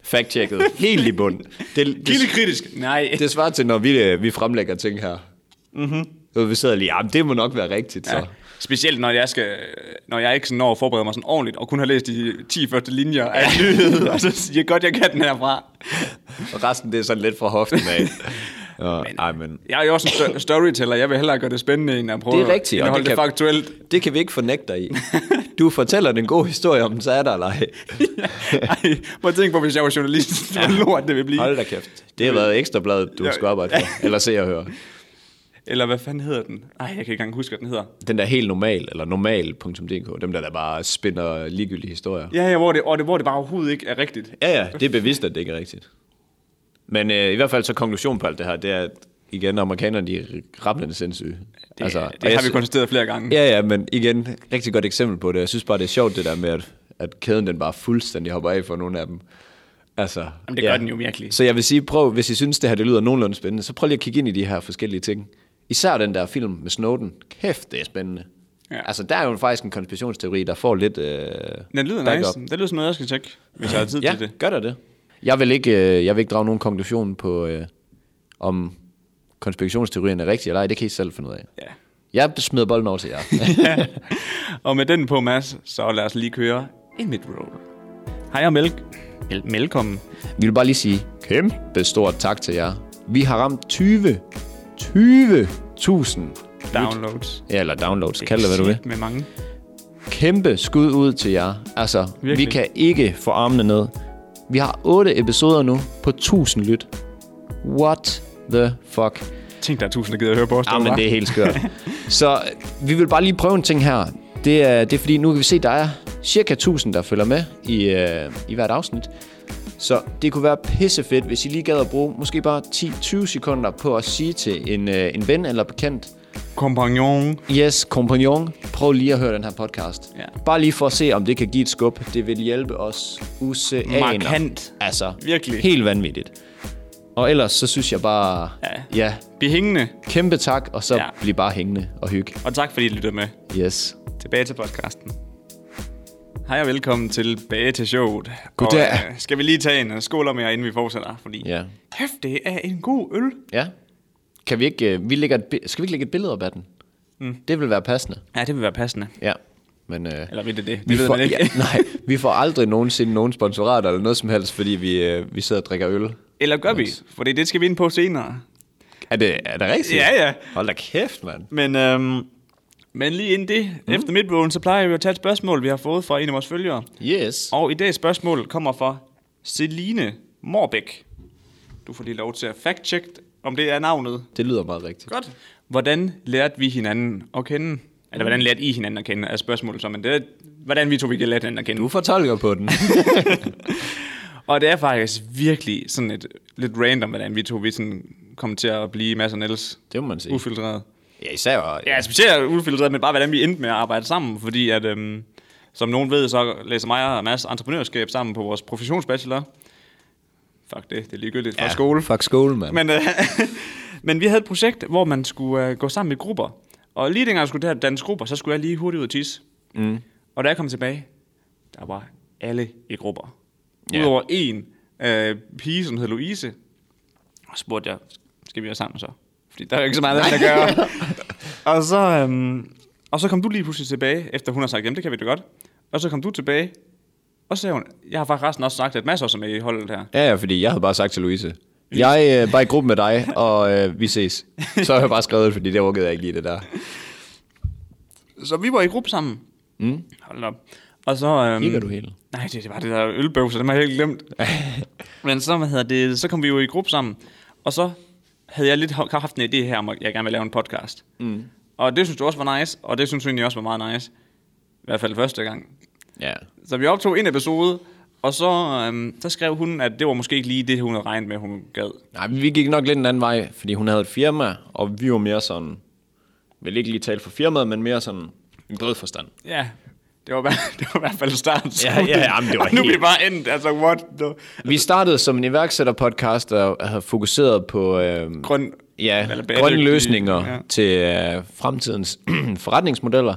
S2: Fact-checket. Helt i bund. Det, det,
S1: Kildekritisk. Nej.
S2: det svarer til, når vi, øh, vi fremlægger ting her. Mm-hmm. Vi sidder lige, jamen det må nok være rigtigt, så.
S1: Ja. Specielt når jeg, skal, når jeg ikke sådan når at forberede mig sådan ordentligt, og kun har læst de 10 første linjer af en nyhed, og så siger jeg godt, jeg kan den herfra.
S2: Og resten, det er sådan lidt fra hoften af. Nå, ej, men.
S1: Jeg er jo også en sto- storyteller, jeg vil hellere gøre det spændende, end at prøve
S2: Det er rigtigt,
S1: at
S2: og
S1: holde det,
S2: det
S1: det
S2: kan-
S1: faktuelt.
S2: Det kan vi ikke fornægte dig i. Du fortæller den gode historie om den, så er der eller ej.
S1: Ej, prøv at tænke på, hvis jeg var journalist, hvor lort det vil blive.
S2: Hold da kæft. Det har været ekstrabladet, du
S1: Ja.
S2: skulle arbejde for. Eller se og høre.
S1: Eller hvad fanden hedder den? Nej, jeg kan ikke engang huske, hvad den hedder.
S2: Den der helt normal, eller normal.dk, dem der, der bare spinder ligegyldige historier.
S1: Ja, ja hvor, det, og det, hvor det bare overhovedet ikke er rigtigt.
S2: Ja, ja, det er bevidst, at det ikke er rigtigt. Men øh, i hvert fald så konklusion på alt det her, det er, at igen, amerikanerne, de er rappelende sindssyge.
S1: Det, altså,
S2: og jeg
S1: det har vi
S2: sy-
S1: konstateret flere gange.
S2: Ja, ja, men igen, rigtig godt eksempel på det. Jeg synes bare, det er sjovt det der med, at, at kæden den bare fuldstændig hopper af for nogle af dem. Altså,
S1: Jamen, det gør den jo virkelig.
S2: Så jeg vil sige, prøv, hvis I synes, det her det lyder nogenlunde spændende, så prøv lige at kigge ind i de her forskellige ting. Især den der film med Snowden. Kæft, det er spændende. Ja.
S1: Ja.
S2: Altså, der er jo faktisk en konspirationsteori, der får lidt... Øh,
S1: Den lyder nice. Den lyder som noget, jeg skal tjekke, hvis jeg har tid
S2: Ja,
S1: til det.
S2: gør der det. Jeg vil ikke, øh, jeg vil ikke drage nogen konklusion på, øh, om konspirationsteorien er rigtig eller ej. Det kan I selv finde ud af.
S1: Ja.
S2: Jeg smider bolden over til jer.
S1: Og med den på, Mads, så lad os lige køre en midroll. Hej og mælk. Vel- Velkommen.
S2: vi vil bare lige sige kæmpe stort tak til jer. Vi har ramt 20 20.000
S1: Downloads.
S2: ja, eller downloads, kald det hvad du vil.
S1: Sygt Med mange.
S2: Kæmpe skud ud til jer. Altså, Virkelig.
S1: Virkelig.
S2: vi kan ikke få armene ned. Vi har 8 episoder nu på 1000 lyt. What the fuck?
S1: Tænk, der er tusind, der gider at høre på os.
S2: Ja, Ah, men
S1: derovre.
S2: det er helt skørt. så øh, vi vil bare lige prøve en ting her. Det er, det er fordi, nu kan vi se, der er cirka 1000, der følger med i, øh, i hvert afsnit. Så det kunne være pissefedt, hvis I lige gad at bruge måske bare 10-20 sekunder på at sige til en, øh, en ven eller bekendt,
S1: Kompagnon.
S2: yes, kompagnon, prøv lige at høre den her podcast.
S1: Ja.
S2: Bare lige for at se, om det kan give et skub. Det vil hjælpe os useaner.
S1: Markant.
S2: Altså,
S1: Virkelig.
S2: Helt vanvittigt. Og ellers, så synes jeg bare,
S1: Ja.
S2: ja
S1: Bliv hængende.
S2: kæmpe tak, og så ja.
S1: Ja.
S2: bliv bare hængende og hygge.
S1: Og tak, fordi I lyttede med.
S2: Yes.
S1: Tilbage til podcasten. Hej og velkommen tilbage til showet.
S2: Goddag.
S1: Og, øh, skal vi lige tage en øh, skål med jer, inden vi fortsætter? Fordi
S2: Ja.
S1: kæft, det er en god øl.
S2: Ja. Kan vi ikke, øh, vi lægger et, bi- skal vi ikke lægge et billede op af den? Mm. Det vil være passende.
S1: Ja, det vil være passende.
S2: Ja. Men, øh,
S1: Eller ved det det? Det
S2: vi
S1: ved
S2: får,
S1: man ikke.
S2: Ja, nej, vi får aldrig nogensinde nogen sponsorater eller noget som helst, fordi vi, øh, vi sidder og drikker øl.
S1: Eller gør vi? Fordi det skal vi ind på senere.
S2: Er det, er det rigtigt?
S1: Ja, ja.
S2: Hold da kæft, mand.
S1: Men, øhm, men lige inden det, mm. efter midtblowen, så plejer vi at tage et spørgsmål, vi har fået fra en af vores følgere.
S2: Yes.
S1: Og i dag spørgsmål kommer fra Celine Morbæk. Du får lige lov til at fact om det er navnet.
S2: Det lyder meget rigtigt.
S1: Godt. Hvordan lærte vi hinanden at kende? Eller hvordan lærte I hinanden at kende, er spørgsmålet så. Men det er, hvordan vi to vi kan lære hinanden at kende.
S2: Du fortolker på den.
S1: Og det er faktisk virkelig sådan et, lidt random, hvordan vi to vi sådan kom til at blive Mads og Niels.
S2: det må man sige.
S1: Ufiltreret.
S2: Ja, især.
S1: Ja, specielt ufiltreret, men bare hvordan vi endte med at arbejde sammen, fordi at, øhm, som nogen ved, så læser mig og Mads entreprenørskab sammen på vores professionsbachelor. Fuck det, det er ligegyldigt fra ja. skole.
S2: Fuck skole, mand.
S1: Men, øh, men vi havde et projekt, hvor man skulle øh, gå sammen i grupper. Og lige dengang jeg skulle der danse grupper, så skulle jeg lige hurtigt ud og tisse. Mm. Og da jeg kom tilbage, der var alle i grupper.
S2: Ja.
S1: Yeah. Udover en øh, pige, som hed Louise. Og så spurgte jeg, skal vi være sammen så? Fordi der er jo ikke så meget andet, der gør. og, så, øhm, og så kom du lige pludselig tilbage, efter hun har sagt, jamen det kan vi da godt. Og så kom du tilbage, og så sagde hun, jeg har faktisk resten også sagt, at masser også er med i holdet her.
S2: Ja, ja, fordi jeg havde bare sagt til Louise,
S4: Jeg er øh, bare i gruppe med dig, og øh, vi ses. Så har jeg bare skrevet det, fordi det orkede jeg ikke lige det der.
S1: Så vi var i gruppe sammen. Mm. Hold da op. Og så... Øhm,
S2: Kigger du helt?
S1: Nej, det, det var det der ølbøvse, dem har jeg helt glemt. Men så, hvad hedder det, så kom vi jo i gruppe sammen, og så havde jeg lidt ho- haft en idé her, om at jeg gerne vil lave en podcast. Mm. Og det synes du også var nice, og det synes du egentlig også var meget nice. I hvert fald første gang.
S2: Ja.
S1: Så vi optog en episode, og så, øhm, så skrev hun, at det var måske ikke lige det, hun havde regnet med, hun gad.
S2: Nej, men vi gik nok lidt en anden vej, fordi hun havde et firma, og vi var mere sådan, vil ikke lige tale for firmaet, men mere sådan en bred forstand.
S1: Ja, det var, bare- det var i hvert fald starten.
S2: Ja, ja, ja, men det var
S1: og nu er vi
S2: helt-
S1: bare endt, altså what the...
S2: Vi startede som en iværksætterpodcast, der havde fokuseret på øh,
S1: Grøn,
S2: ja,
S1: eller bæredygtige-
S2: grønne løsninger
S1: Ja.
S2: ja. til øh, fremtidens forretningsmodeller.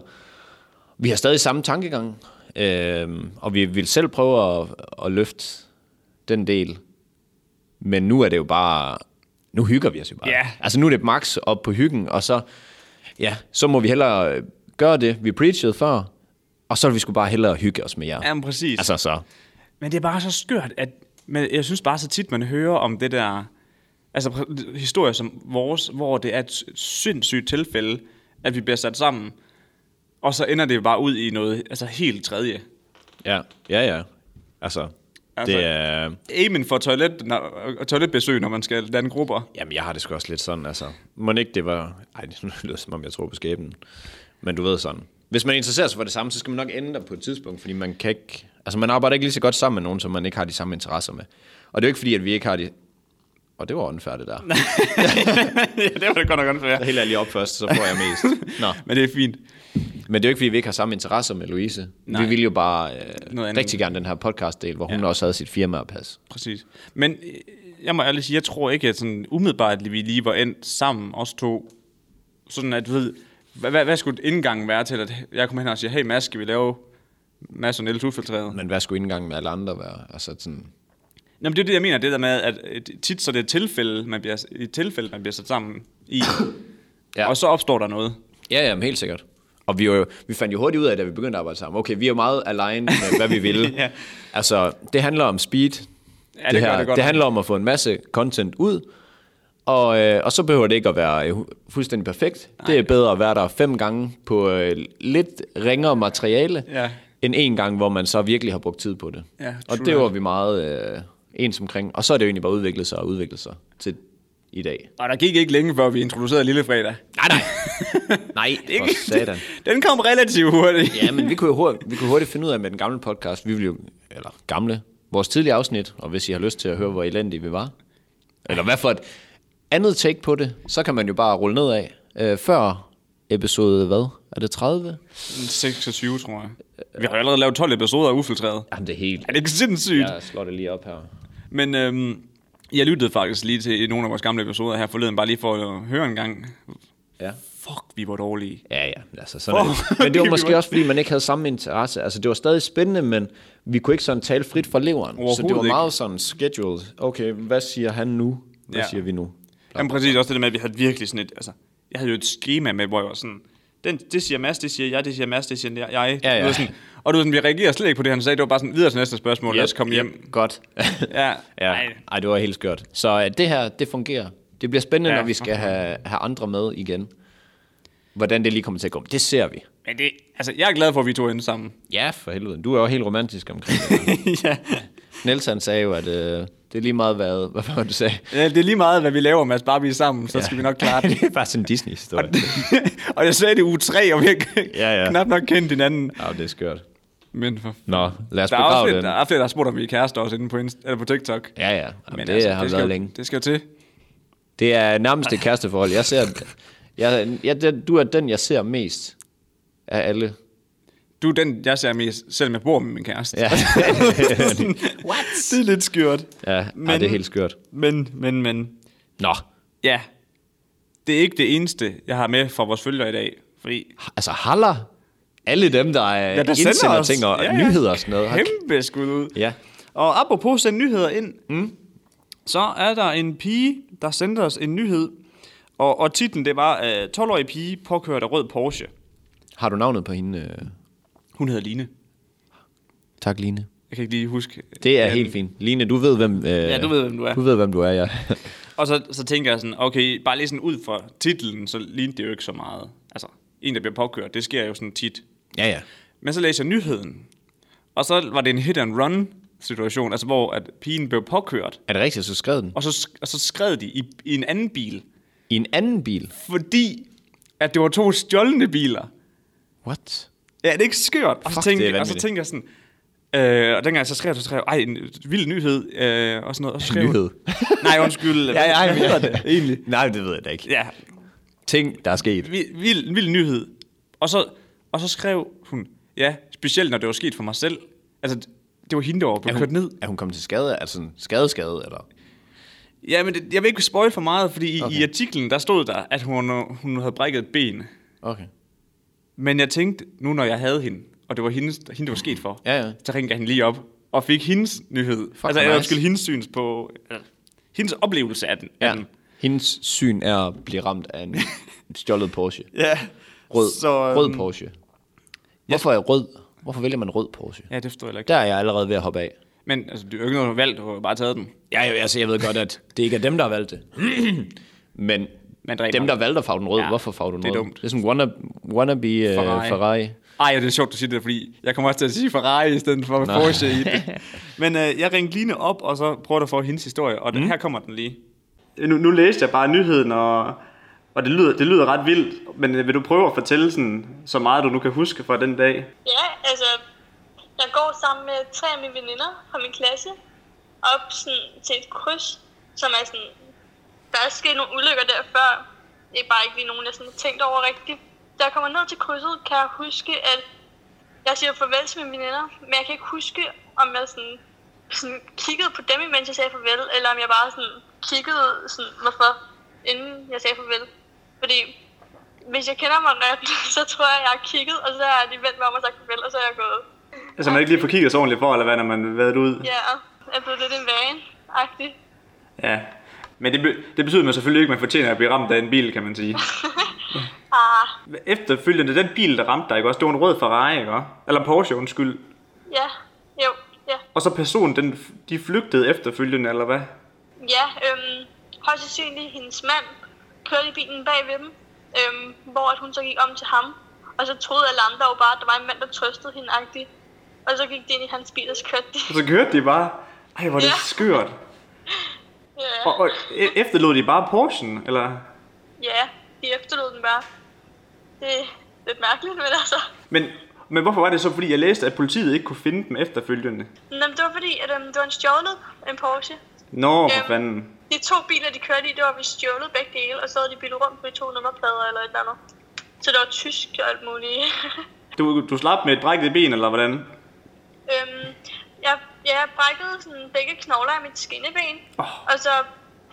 S2: Vi har stadig samme tankegang, øh, og vi vil selv prøve at, at løfte den del. Men nu er det jo bare... Nu hygger vi os jo bare.
S1: Ja.
S2: Altså nu er det max op på hyggen, og så, ja, så må vi hellere øh, gøre det, vi preachede før, og så vil vi sgu bare hellere hygge os med jer.
S1: Ja, men præcis.
S2: Altså så.
S1: Men det er bare så skørt, at men jeg synes bare så tit, man hører om det der, altså pr- historier som vores, hvor det er et s- sindssygt tilfælde, at vi bliver sat sammen, og så ender det bare ud i noget altså helt tredje.
S2: Ja, ja, ja. Altså,
S1: Altså-
S2: altså det er... Øh,
S1: Amen for toilet, når, og toiletbesøg, når man skal danne grupper.
S2: Jamen, jeg har det sgu også lidt sådan, altså. Må ikke det var... Ej, det lyder som om, jeg tror på skæbnen. Men du ved sådan. Hvis man interesserer sig for det samme, så skal man nok ændre på et tidspunkt, fordi man kan ikke... Altså, man arbejder ikke lige så godt sammen med nogen, som man ikke har de samme interesser med. Og det er jo ikke fordi, at vi ikke har de... Og det var åndfærdigt der.
S1: ja, det var det godt nok unfair.
S2: Helt ærligt op først, så får jeg mest. Nå.
S1: Men det er fint.
S2: Men det er jo ikke, fordi vi ikke har samme interesser med Louise. Nej. Vi ville jo bare øh,
S1: andet.
S2: rigtig gerne den her podcast-del, hvor hun ja. også havde sit firma at passe.
S1: Præcis. Men øh, jeg må ærligt sige, jeg tror ikke, at sådan umiddelbart, at vi lige var endt sammen, os to. Sådan at, du ved, hvad, hvad, hvad skulle indgangen være til, at jeg kommer hen og siger, hey Mads, skal vi lave Mads og Niels ufiltreret?
S2: Men hvad skulle indgangen med alle andre være? Altså sådan...
S1: Nå, men det er det, jeg mener, det der med, at øh, tit så er det et tilfælde, man bliver, et tilfælde, man bliver sat sammen i. ja.
S2: Ja.
S1: Og så opstår der noget.
S2: Ja, ja, men helt sikkert. Og vi, var jo, vi fandt jo hurtigt ud af, da vi begyndte at arbejde sammen, okay, vi er jo meget aligned med, hvad vi vil.
S1: Ja.
S2: Altså, det handler om speed.
S1: Ja, det gør det godt.
S2: det handler om at få en masse content ud. Og, øh, og så behøver det ikke at være øh, hu- fuldstændig perfekt. Nej. Det er bedre at være der fem gange på øh, lidt ringere materiale,
S1: Ja.
S2: end en gang, hvor man så virkelig har brugt tid på det.
S1: Ja,
S2: og
S1: true
S2: det
S1: that.
S2: var vi meget øh, ens omkring. Og så er det jo egentlig bare udviklet sig og udviklet sig til i dag.
S1: Og der gik ikke længe, før vi introducerede Lillefredag.
S2: Nej, nej. nej, det
S1: Ikke?
S2: for satan.
S1: Den kom relativt hurtigt.
S2: Ja, men vi kunne, jo hurtigt, vi kunne hurtigt finde ud af med den gamle podcast, vi ville jo, eller gamle, vores tidlige afsnit, og hvis I har lyst til at høre, hvor elendige vi var, eller hvad for et andet take på det, så kan man jo bare rulle nedad. Øh, før episode, hvad? Er det 30?
S1: 26, tror jeg. Vi har jo allerede lavet 12 episoder af ufiltreret.
S2: Jamen, det er helt...
S1: Er det ikke sindssygt?
S2: Jeg slår det lige op her.
S1: Men øhm, jeg lyttede faktisk lige til nogle af vores gamle episoder her forleden, bare lige for at høre en gang.
S2: Ja.
S1: Fuck, vi var dårlige.
S2: Ja, ja, altså sådan
S1: Åh,
S2: oh, det. Men det var
S1: vi
S2: måske
S1: var-
S2: også, fordi man ikke havde samme interesse. Altså, det var stadig spændende, men vi kunne ikke sådan tale frit fra leveren. Så det var
S1: Overhovedet
S2: meget sådan scheduled. Okay, hvad siger han nu? Hvad
S1: Ja.
S2: ja. siger vi nu?
S1: Jamen præcis også det der med, at vi havde virkelig sådan et, altså, jeg havde jo et schema med, hvor jeg var sådan, den, det siger Mads, det siger jeg, det siger Mads, det siger jeg. jeg.
S2: Ja, ja.
S1: Du ved sådan, og du ved sådan, vi reagerer slet ikke på det, han sagde. Det var bare sådan, videre til næste spørgsmål, yep, lad os komme yep. hjem.
S2: Godt.
S1: Ja.
S2: Ja,
S1: Ej.
S2: ej. ej, det var helt skørt. Så øh, det her, det fungerer. Det bliver spændende,
S1: Ja,
S2: ja, når vi skal have, have andre med igen. Hvordan det lige kommer til at gå. Det ser vi.
S1: Men det, altså, jeg er glad for, at vi to endte sammen.
S2: Ja, for helvede. Du er jo helt romantisk omkring det.
S1: ja.
S2: Niels han sagde jo, at øh, det er lige meget hvad, hvad var det, du sagde?
S1: ja. det er lige meget, hvad vi laver, Mads, bare vi er sammen, så ja. skal vi nok klare det.
S2: det er bare sådan en Disney-historie.
S1: og jeg sagde det i uge 3, og vi har ja,
S2: Ja,
S1: ja.
S2: ja.
S1: knap nok kendt hinanden.
S2: Ja, det er skørt.
S1: Men for
S2: Nå, lad os
S1: Der er også
S2: begrave
S1: lidt,
S2: den.
S1: der er flere, der har spurgt, om vi er kærester også inde på, Insta, eller på TikTok.
S2: Ja, ja. Jamen, det altså, har
S1: det
S2: det
S1: skal,
S2: været
S1: jo-
S2: længe.
S1: Det skal jo til.
S2: Det er nærmest et kæresteforhold. Jeg ser, jeg, jeg, den- du er den, jeg ser mest af alle.
S1: Du er den, jeg ser mest, selvom jeg bor med min kæreste.
S2: Ja.
S1: What? Det er lidt skørt.
S2: Ja, men, ej, det er helt skørt.
S1: Men, men, men.
S2: Nå,
S1: Ja. Det er ikke det eneste, jeg har med fra vores følgere i dag. Fordi
S2: altså haller alle dem, der, ja,
S1: ja,
S2: der indsender ting og ja, ja. nyheder og sådan noget. Hold
S1: Kæmpe skud ud.
S2: Ja.
S1: Og apropos sende nyheder ind, mm. så er der en pige, der sendte os en nyhed. Og, og titlen, det var øh, 12-årig pige påkørt af rød Porsche.
S2: Har du navnet på hende? øh?
S1: Hun hedder Line.
S2: Tak, Line.
S1: Jeg kan ikke lige huske.
S2: Det er
S1: Men-
S2: helt fint. Line, du ved, hvem, øh,
S1: Ja, du ved, hvem du er.
S2: du ved, hvem du er, ja.
S1: Og så, så tænker jeg sådan, okay, bare lige sådan ud fra titlen, så lignede det jo ikke så meget. Altså, en, der bliver påkørt, det sker jo sådan tit.
S2: ja, ja.
S1: Men så læser jeg nyheden, og så var det en hit and run situation, altså hvor at pigen blev påkørt,
S2: Er det rigtigt, så skrev den?
S1: og så, sk- og så skred de i, i en anden bil,
S2: I en anden bil?
S1: fordi at det var to stjålne biler.
S2: What?
S1: Ja, det er ikke skørt. Og så
S2: Fuck,
S1: tænkte,
S2: det er
S1: jeg- og så
S2: vanvittigt.
S1: tænkte jeg sådan, øh, og dengang jeg så skrev, så skrev jeg, ej, en vild nyhed, øh, og sådan noget. Og så skrev,
S2: Nyhed.
S1: Nej, undskyld.
S2: Ja, ja, jeg ved det egentlig. Nej, det ved jeg da ikke.
S1: Ja,
S2: Ting, der er sket.
S1: vild, vild, vild nyhed. Og så, og så skrev hun, ja, specielt når det var sket for mig selv. Altså, det var hende, der var blevet kørt ned.
S2: Er hun kommet til skade? Altså sådan skade, skade, eller?
S1: Ja, men det, jeg vil ikke spoil for meget, fordi okay. i, i artiklen, der stod der, at hun, hun havde brækket et ben.
S2: Okay.
S1: Men jeg tænkte, nu når jeg havde hende, og det var hendes, hende, det var sket for,
S2: Ja, ja.
S1: så ringte jeg hende lige op og fik hendes nyhed. Fuck, altså,
S2: hvor nice.
S1: jeg undskyld, hendes syns på... eller, hendes oplevelse af den. af
S2: Ja.
S1: den.
S2: Hendes syn er at blive ramt af en stjålet Porsche.
S1: ja.
S2: Rød,
S1: Så, øhm,
S2: rød Porsche. Hvorfor er rød? Hvorfor vælger man rød Porsche?
S1: Ja, det forstår jeg heller ikke.
S2: Der er jeg allerede ved at hoppe af.
S1: Men altså, det er jo ikke noget, du har valgt, du har jo bare taget den.
S2: Ja, jo, altså, jeg ved godt, at det ikke er dem, der har valgt det. Men
S1: Men det er
S2: dem, der valgte at farve den rød,
S1: Ja,
S2: ja, hvorfor farve den
S1: det er
S2: rød?
S1: dumt.
S2: Det er sådan wannabe, wannabe øh,
S1: Ferrari.
S2: Ferrari. Ferrari.
S1: Ej, og det er sjovt, du siger det, fordi jeg kommer også til at sige Ferrari i stedet for Porsche i det. Men øh, jeg ringte Line op, og så prøvede at få hendes historie, og den, mm. her kommer den lige. Nu, nu læste jeg bare nyheden, og, og det, lyder, det lyder ret vildt, men øh, vil du prøve at fortælle sådan, så meget, du nu kan huske fra den dag?
S5: Ja, altså, jeg går sammen med tre af mine veninder fra min klasse op sådan, til et kryds, som er sådan, der er sket nogle ulykker der før. Det er bare ikke lige nogen, jeg sådan har tænkt over rigtigt. Da jeg kommer ned til krydset, kan jeg huske, at jeg siger farvel til mine veninder, men jeg kan ikke huske, om jeg sådan, sådan kiggede på dem, imens jeg sagde farvel, eller om jeg bare sådan kiggede, sådan, hvorfor, inden jeg sagde farvel. Fordi hvis jeg kender mig ret, så tror jeg, jeg har kigget, og så har de vendt mig om og sagt farvel, og så er jeg gået.
S1: Altså, man ikke lige får kigget så ordentligt for, eller hvad, når man været ud?
S5: Ja, jeg er blevet lidt en vane, agtig.
S1: Ja. Men det, be- det betyder man selvfølgelig ikke, at man fortjener at blive ramt af en bil, kan man sige.
S5: Ah,
S1: Efterfølgende, den bil, der ramte dig, ikke også? Det var en rød Ferrari, ikke også? Eller Porsche, undskyld.
S5: ja, jo, ja.
S1: Og så personen, den, de flygtede efterfølgende, eller hvad?
S5: Ja, øhm, højst sandsynligt hendes mand kørte i bilen bag ved dem, øhm, hvor at hun så gik om til ham. Og så troede alle andre jo bare, at der var en mand, der trøstede hende agtigt. Og så gik de ind i hans bil, og så kørte de.
S1: Og så kørte de bare. Ej, hvor er det
S5: Ja.
S1: skørt.
S5: Ja,
S1: Og, og e- efterlod de bare Porschen, eller?
S5: ja de efterlod den bare. Det er lidt mærkeligt, men altså...
S1: Men, men hvorfor var det så, fordi jeg læste, at politiet ikke kunne finde dem efterfølgende?
S5: Nå, men det var fordi, at øhm, det var en stjålet, en Porsche.
S1: Nå, for
S5: Øhm.
S1: fanden.
S5: De to biler, de kørte i, det var vi stjålet begge dele, og så havde de byttet rundt på de to nummerplader eller et eller andet. Så det var tysk og alt muligt.
S1: Du, du slap med et brækket ben, eller hvordan?
S5: øhm, jeg, ja, jeg brækkede sådan begge knogler af mit skinneben,
S1: Åh.
S5: og så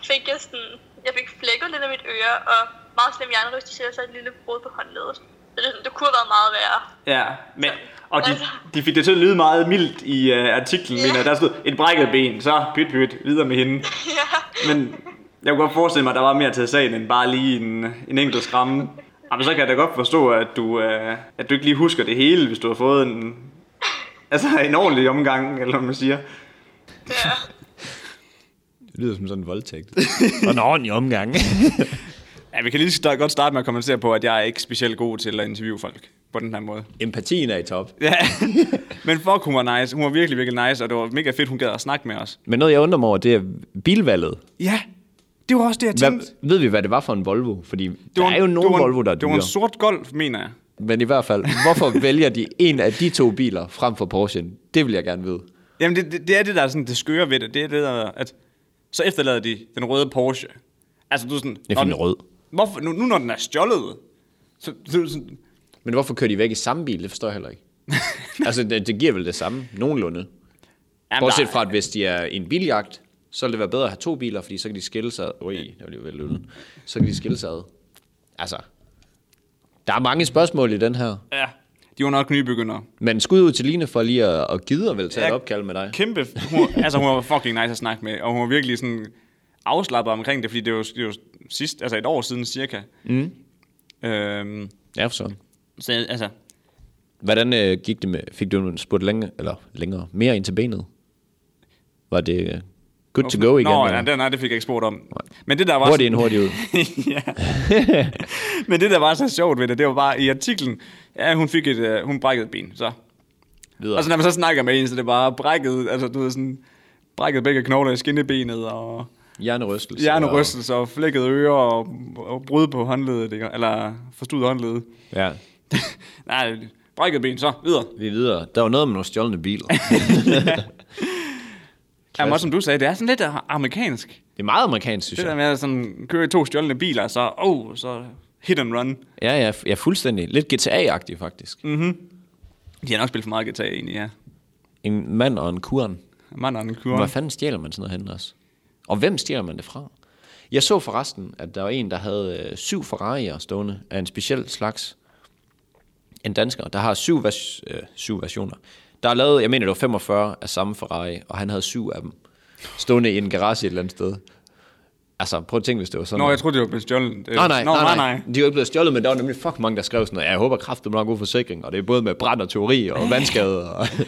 S5: fik jeg sådan, jeg fik flækket lidt af mit øre, og meget slem hjernerystelse, og så et lille brud på håndledet. Så det, er sådan, det kunne have været meget værre.
S1: Ja, men... Og de,
S5: Altså.
S1: de fik det til at lyde meget mildt i uh, artiklen,
S5: Ja.
S1: mener jeg. Der stod et brækket ben, så pyt pyt, videre med hende.
S5: ja,
S1: Men jeg kunne godt forestille mig, at der var mere til sagen end bare lige en, en enkelt skramme. Jamen, så kan jeg da godt forstå, at du, øh, at du ikke lige husker det hele, hvis du har fået en, altså en ordentlig omgang, eller hvad man siger.
S5: ja.
S2: Det lyder som sådan en voldtægt. Og en ordentlig omgang.
S1: Ja, vi kan lige start, godt starte med at kommentere på, at jeg er ikke specielt god til at interviewe folk på den her måde.
S2: Empatien er i top.
S1: Ja, men fuck, hun var nice. Hun var virkelig, virkelig nice, og det var mega fedt, hun gad at snakke med os.
S2: Men noget, jeg undrer mig over, det er bilvalget.
S1: Ja, det var også det, jeg tænkte.
S2: Hvad, ved vi, hvad det var for en Volvo? Fordi der er jo
S1: en-
S2: nogle
S1: det var en-
S2: Volvo, der er
S1: Det var en
S2: dyre.
S1: sort golf, mener jeg.
S2: Men i hvert fald, hvorfor vælger de en af de to biler frem for Porsche? Det vil jeg gerne vide.
S1: Jamen, det, det, det er det, der er sådan det skøre ved det. Det er det, der er, at så efterlader de den røde Porsche. Altså, du er sådan...
S2: Jeg finder
S1: "Nå,
S2: rød."
S1: Hvorfor, nu, nu når den er stjålet, så, så er du sådan...
S2: Men hvorfor kører de væk i samme bil? Det forstår jeg heller ikke. altså, det, det giver vel det samme, nogenlunde.
S1: Jamen,
S2: Bortset
S1: der-
S2: fra, at hvis de er i en biljagt, så vil det være bedre at have to biler, fordi så kan de skille sig ad. Ui, der bliver vel lyden. Så kan de skille sig ad. Altså, der er mange spørgsmål i den her.
S1: Ja, de var nok nybegyndere.
S2: Men skud ud til Line for lige at, at gide at vel tage et
S1: Ja.
S2: opkald med dig.
S1: Kæmpe... Hun, altså, hun var fucking nice at snakke med, og hun var virkelig sådan afslappet omkring det, fordi det var, det var sidst, altså et år siden cirka. Mm. Øhm,
S2: Ja, for sådan.
S1: så altså,
S2: Hvordan øh, gik det med, fik du en spurt længe, eller længere, mere ind til benet? Var det øh, good to go igen?
S1: Nå,
S2: eller?
S1: ja, det, nej, det fik jeg ikke spurgt om. Men det, der var
S2: Hurtigt ind, hurtigt ud.
S1: ja. Men det, der var så sjovt ved det, det var bare i artiklen, ja, hun fik et, øh, hun brækkede et ben, så.
S2: Videre.
S1: Og så når man så snakker med en, så det er bare brækket, altså du ved sådan, brækket begge knogler i skinnebenet, og
S2: Hjernerystelse.
S1: hjernerystelser, og flækkede ører, og, og brud på håndledet, ikke? eller forstudet håndledet.
S2: og- Ja,
S1: nej, brækket ben, så videre.
S2: vi er videre. Der var noget med nogle stjålne biler.
S1: Jamen, også som du sagde, det er sådan lidt øh, amerikansk.
S2: det er meget amerikansk, synes
S1: Det der
S2: jeg.
S1: med at sådan, køre i to stjålne biler, så, oh, så hit and run.
S2: Ja, ja, f- ja, fuldstændig. Lidt GTA-agtig, faktisk. Mm.
S1: De har nok spillet for meget guitar egentlig, ja.
S2: En mand og en kuren.
S1: Mand og en kur.
S2: Hvor fanden stjæler man sådan noget henne også? Og hvem stjæler man det fra? Jeg så forresten, at der var en, der havde øh, syv Ferrari'er stående af en speciel slags. En dansker, der har syv, vers, øh, syv versioner. Der er lavet, jeg mener, det var 45 af samme Ferrari, og han havde syv af dem stående i en garage et eller andet sted. Altså, prøv at tænke, hvis det var sådan.
S1: Nå, jeg troede, det var blevet stjålet.
S2: Nå, nej,
S1: Nå,
S2: nej, nej,
S1: Ah, nej.
S2: De er jo ikke blevet stjålet, men der var nemlig fuck mange, der skrev sådan noget. Jeg håber kraftigt, man har god forsikring, og det er både med brand og teori og vandskade. Og... men,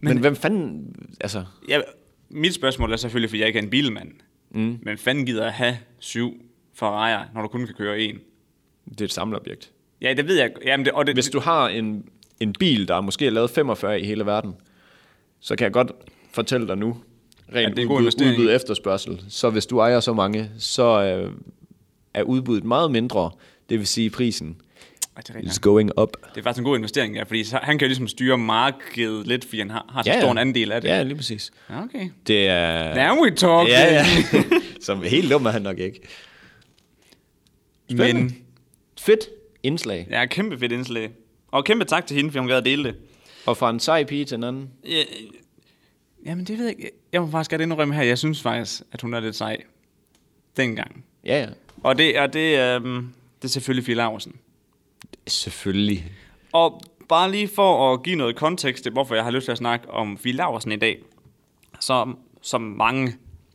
S2: men, hvem fanden, altså,
S1: Ja, mit spørgsmål er selvfølgelig, fordi jeg ikke er en bilmand. Mm. Men fanden gider at have syv Ferrari'er, når du kun kan køre en?
S2: det er et samleobjekt.
S1: Ja, det ved jeg. Jamen, det, og det,
S2: Hvis du har en, en bil, der er måske er lavet 45 i hele verden, så kan jeg godt fortælle dig nu, rent
S1: det er
S2: ja,
S1: en god
S2: udbud,
S1: investering.
S2: udbud efterspørgsel, så hvis du ejer så mange, så øh, er udbuddet meget mindre, det vil sige prisen
S1: Ej, det, er
S2: is
S1: rigtigt.
S2: going up.
S1: det er faktisk en god investering, ja, fordi så- han kan jo ligesom styre markedet lidt, fordi han har, har så stor en andel af det.
S2: Ja, lige præcis.
S1: Ja, okay.
S2: Det er...
S1: Now we talk.
S2: Ja, ja. Som helt dum er han nok ikke.
S1: Men
S2: Fedt indslag.
S1: ja, kæmpe fedt indslag. Og kæmpe tak til hende, fordi hun gad at dele det.
S2: Og fra en sej pige til en anden.
S1: Ja, jamen, det ved jeg ikke. Jeg må faktisk godt indrømme her, jeg synes faktisk, at hun er lidt sej. Dengang.
S2: Ja, ja.
S1: Og det, og det, øhm, det er selvfølgelig Fie Laursen.
S2: Selvfølgelig.
S1: Og bare lige for at give noget kontekst til, hvorfor jeg har lyst til at snakke om Fie Laursen i dag, så, som mange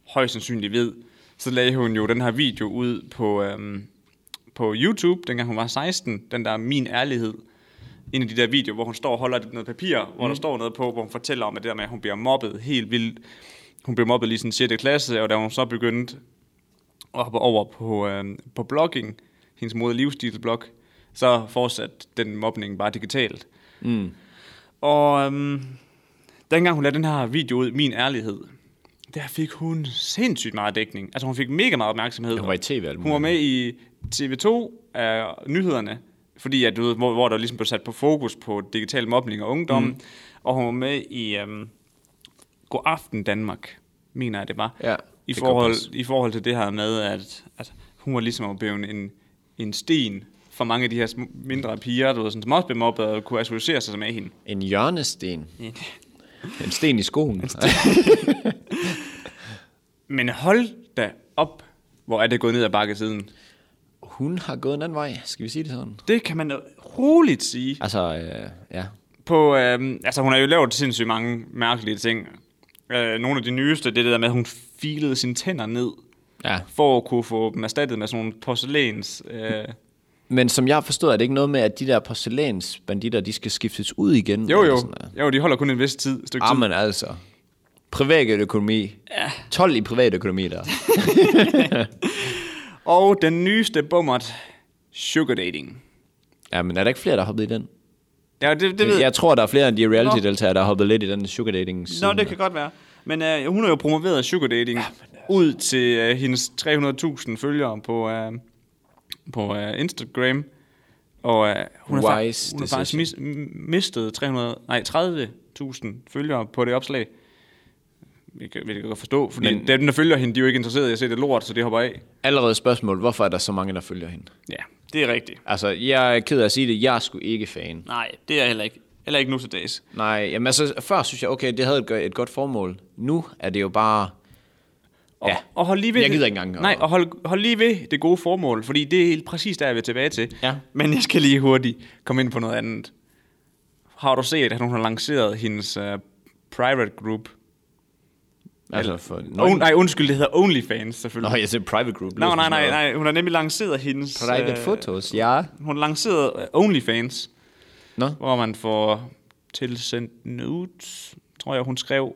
S1: højst sandsynligt ved, så lagde hun jo den her video ud på, øhm, på YouTube, dengang hun var 16, den der Min Ærlighed, en af de der videoer, hvor hun står og holder noget papir, hvor der står noget på, hvor hun fortæller om at det der med, at hun bliver mobbet helt vildt. Hun blev mobbet lige sådan 6. klasse, og da hun så begyndte at hoppe over på, øhm, på blogging, hendes mode- og livsstilsblog, så fortsatte den mobning bare digitalt.
S2: Mm.
S1: Og øhm, dengang hun lavede den her video ud, Min Ærlighed, der fik hun sindssygt meget dækning. Altså hun fik mega meget opmærksomhed.
S2: Hun var i tv alt
S1: Hun var
S2: muligt.
S1: med i TV2 af nyhederne, fordi at, du ved, hvor, hvor der ligesom blev sat på fokus på digital mobning og ungdom. Mm. Og hun var med i øhm, God Aften Danmark, mener jeg det var. I,
S2: Ja, det kan
S1: forhold,
S2: passe.
S1: I forhold til det her med, at, at hun var ligesom blevet en, en sten for mange af de her sm- mindre piger, du ved, sådan, som også blev mobbet og kunne associere sig med hende.
S2: En hjørnesten. En sten i skoen.
S1: Men hold da op, hvor er det gået ned ad bakke siden.
S2: Hun har gået en anden vej, skal vi sige det sådan?
S1: Det kan man roligt sige.
S2: Altså, øh, ja.
S1: På, øh, altså, hun har jo lavet sindssygt mange mærkelige ting. Øh, nogle af de nyeste, det er det der med, at hun filede sine tænder ned,
S2: ja.
S1: for at kunne få dem erstattet med sådan nogle porcelæns... Øh,
S2: Men som jeg har forstået, er det ikke noget med, at de der porcelænsbanditter, de skal skiftes ud igen?
S1: jo,
S2: eller
S1: jo.
S2: Sådan, noget?
S1: Jo, de holder kun en vis tid, stykke tid.
S2: Jamen altså. Privatøkonomi. Ja. 12 i privatøkonomi der.
S1: Og den nyeste bummert, sugar dating.
S2: Ja, men er der ikke flere, der har hoppet i den?
S1: Ja, det, det ved jeg.
S2: Jeg tror, der er flere af de
S1: Nå.
S2: reality-deltagere, der har hoppet lidt i den sugar dating
S1: Nå, det kan godt være. Men øh, hun har jo promoveret sugar dating ud til øh, hendes 300.000 følgere på, øh, på øh, Instagram. Og øh, hun har, fa-
S2: Wise
S1: hun har faktisk mis, m- mistet 300, nej, 30.000 følgere på det opslag. Jeg kan, jeg kan godt forstå, fordi
S2: Men-
S1: Men, dem, der følger hende, de er jo ikke interesseret i at se det lort, så det hopper af.
S2: Allerede spørgsmål, hvorfor er der så mange, der følger hende?
S1: Ja, det er rigtigt.
S2: Altså, jeg er ked af at sige det, jeg er sgu ikke fan.
S1: Nej, det er jeg heller ikke. Heller ikke nu til dags.
S2: Nej, jamen altså, før synes jeg, okay, det havde et, gø- et godt formål. Nu er det jo bare...
S1: Og,
S2: Ja.
S1: og hold lige ved
S2: Jeg gider
S1: det-
S2: ikke engang at-
S1: Nej, og hold, hold lige ved det gode formål, fordi det er helt præcis der, jeg vil tilbage til.
S2: Ja.
S1: Men jeg skal lige hurtigt komme ind på noget andet. Har du set, at hun har lanceret hendes uh, private group?
S2: Altså, for...
S1: No,
S2: Nå,
S1: nej, undskyld, det hedder OnlyFans selvfølgelig.
S2: Nå jeg ser private group. lyder
S1: Nå,
S2: som
S1: nej,
S2: sådan
S1: nej,
S2: noget.
S1: nej, hun har nemlig lanceret hendes...
S2: Private
S1: øh,
S2: photos, ja.
S1: Hun lancerede øh, OnlyFans,
S2: Nå.
S1: hvor man får tilsendt nudes, tror jeg, hun skrev,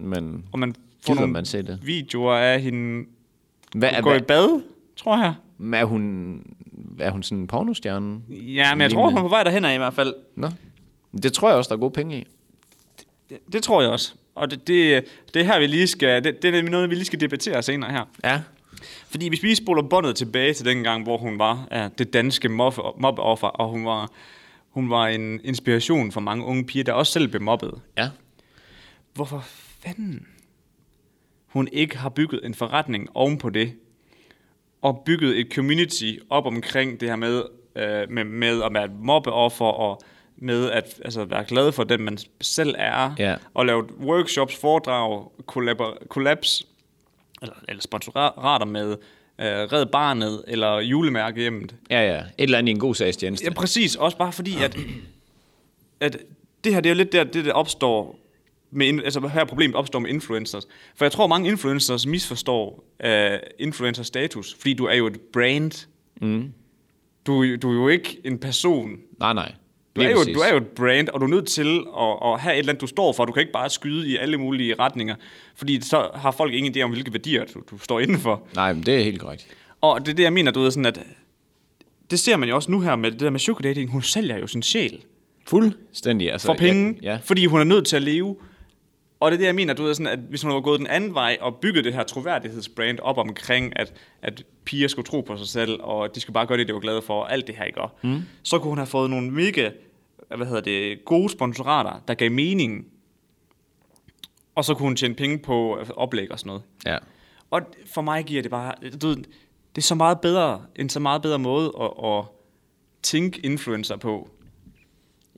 S2: Men
S1: og man får
S2: Gider
S1: nogle
S2: man se det?
S1: videoer af hende
S2: hvad, er,
S1: går i
S2: hvad,
S1: bad, tror jeg.
S2: er, hun, er hun sådan en pornostjerne?
S1: Ja, men jeg tror, hun er på vej derhen af i hvert fald.
S2: Nå. Det tror jeg også, der er gode penge i.
S1: Det, det tror jeg også. Og det, det, det er her, vi lige skal, det, det er nemlig noget, vi lige skal debattere senere her.
S2: Ja.
S1: Fordi hvis vi spoler båndet tilbage til den gang, hvor hun var ja, det danske mobbe- mobbeoffer, og hun var, hun var en inspiration for mange unge piger, der også selv blev mobbet.
S2: Ja.
S1: Hvorfor fanden hun ikke har bygget en forretning ovenpå det, og bygget et community op omkring det her med, øh, med, med at være et mobbeoffer, og med at altså, være glad for den, man selv er,
S2: Ja.
S1: og lave workshops, foredrag, kollabor- kollaps, eller, eller sponsorater med øh, Red Barnet, eller julemærkehjemmet.
S2: Ja, ja. Et eller andet i en god sags tjeneste.
S1: Ja, præcis. Også bare fordi, at, at det her, det er jo lidt der, det der opstår med, in- altså her problemet opstår med influencers. For jeg tror, mange influencers misforstår uh, influencers status, fordi du er jo et brand. Mm. Du, er jo- du er jo ikke en person.
S2: Nej, nej.
S1: Du
S2: Lige
S1: er, jo,
S2: præcis.
S1: du er jo et brand, og du er nødt til at, at have et eller andet, du står for. Du kan ikke bare skyde i alle mulige retninger, fordi så har folk ingen idé om, hvilke værdier du, du står indenfor.
S2: Nej, men det er helt korrekt.
S1: Og det er det, jeg mener, du ved, sådan at... Det ser man jo også nu her med det der med sugar dating. Hun sælger jo sin sjæl
S2: Fuldstændig. Altså,
S1: for penge,
S2: Ja, ja.
S1: fordi hun er nødt til at leve. Og det er det, jeg mener, du ved, sådan, at hvis hun var gået den anden vej og bygget det her troværdighedsbrand op omkring, at, at piger skulle tro på sig selv, og de skulle bare gøre det, de var glade for, og alt det her, ikke? Mm. Så kunne hun have fået nogle mega, hvad hedder det, gode sponsorater, der gav mening. Og så kunne hun tjene penge på øh, oplæg og sådan noget.
S2: ja.
S1: Og for mig giver det bare, du ved, det er så meget bedre, en så meget bedre måde at, at tænke influencer på.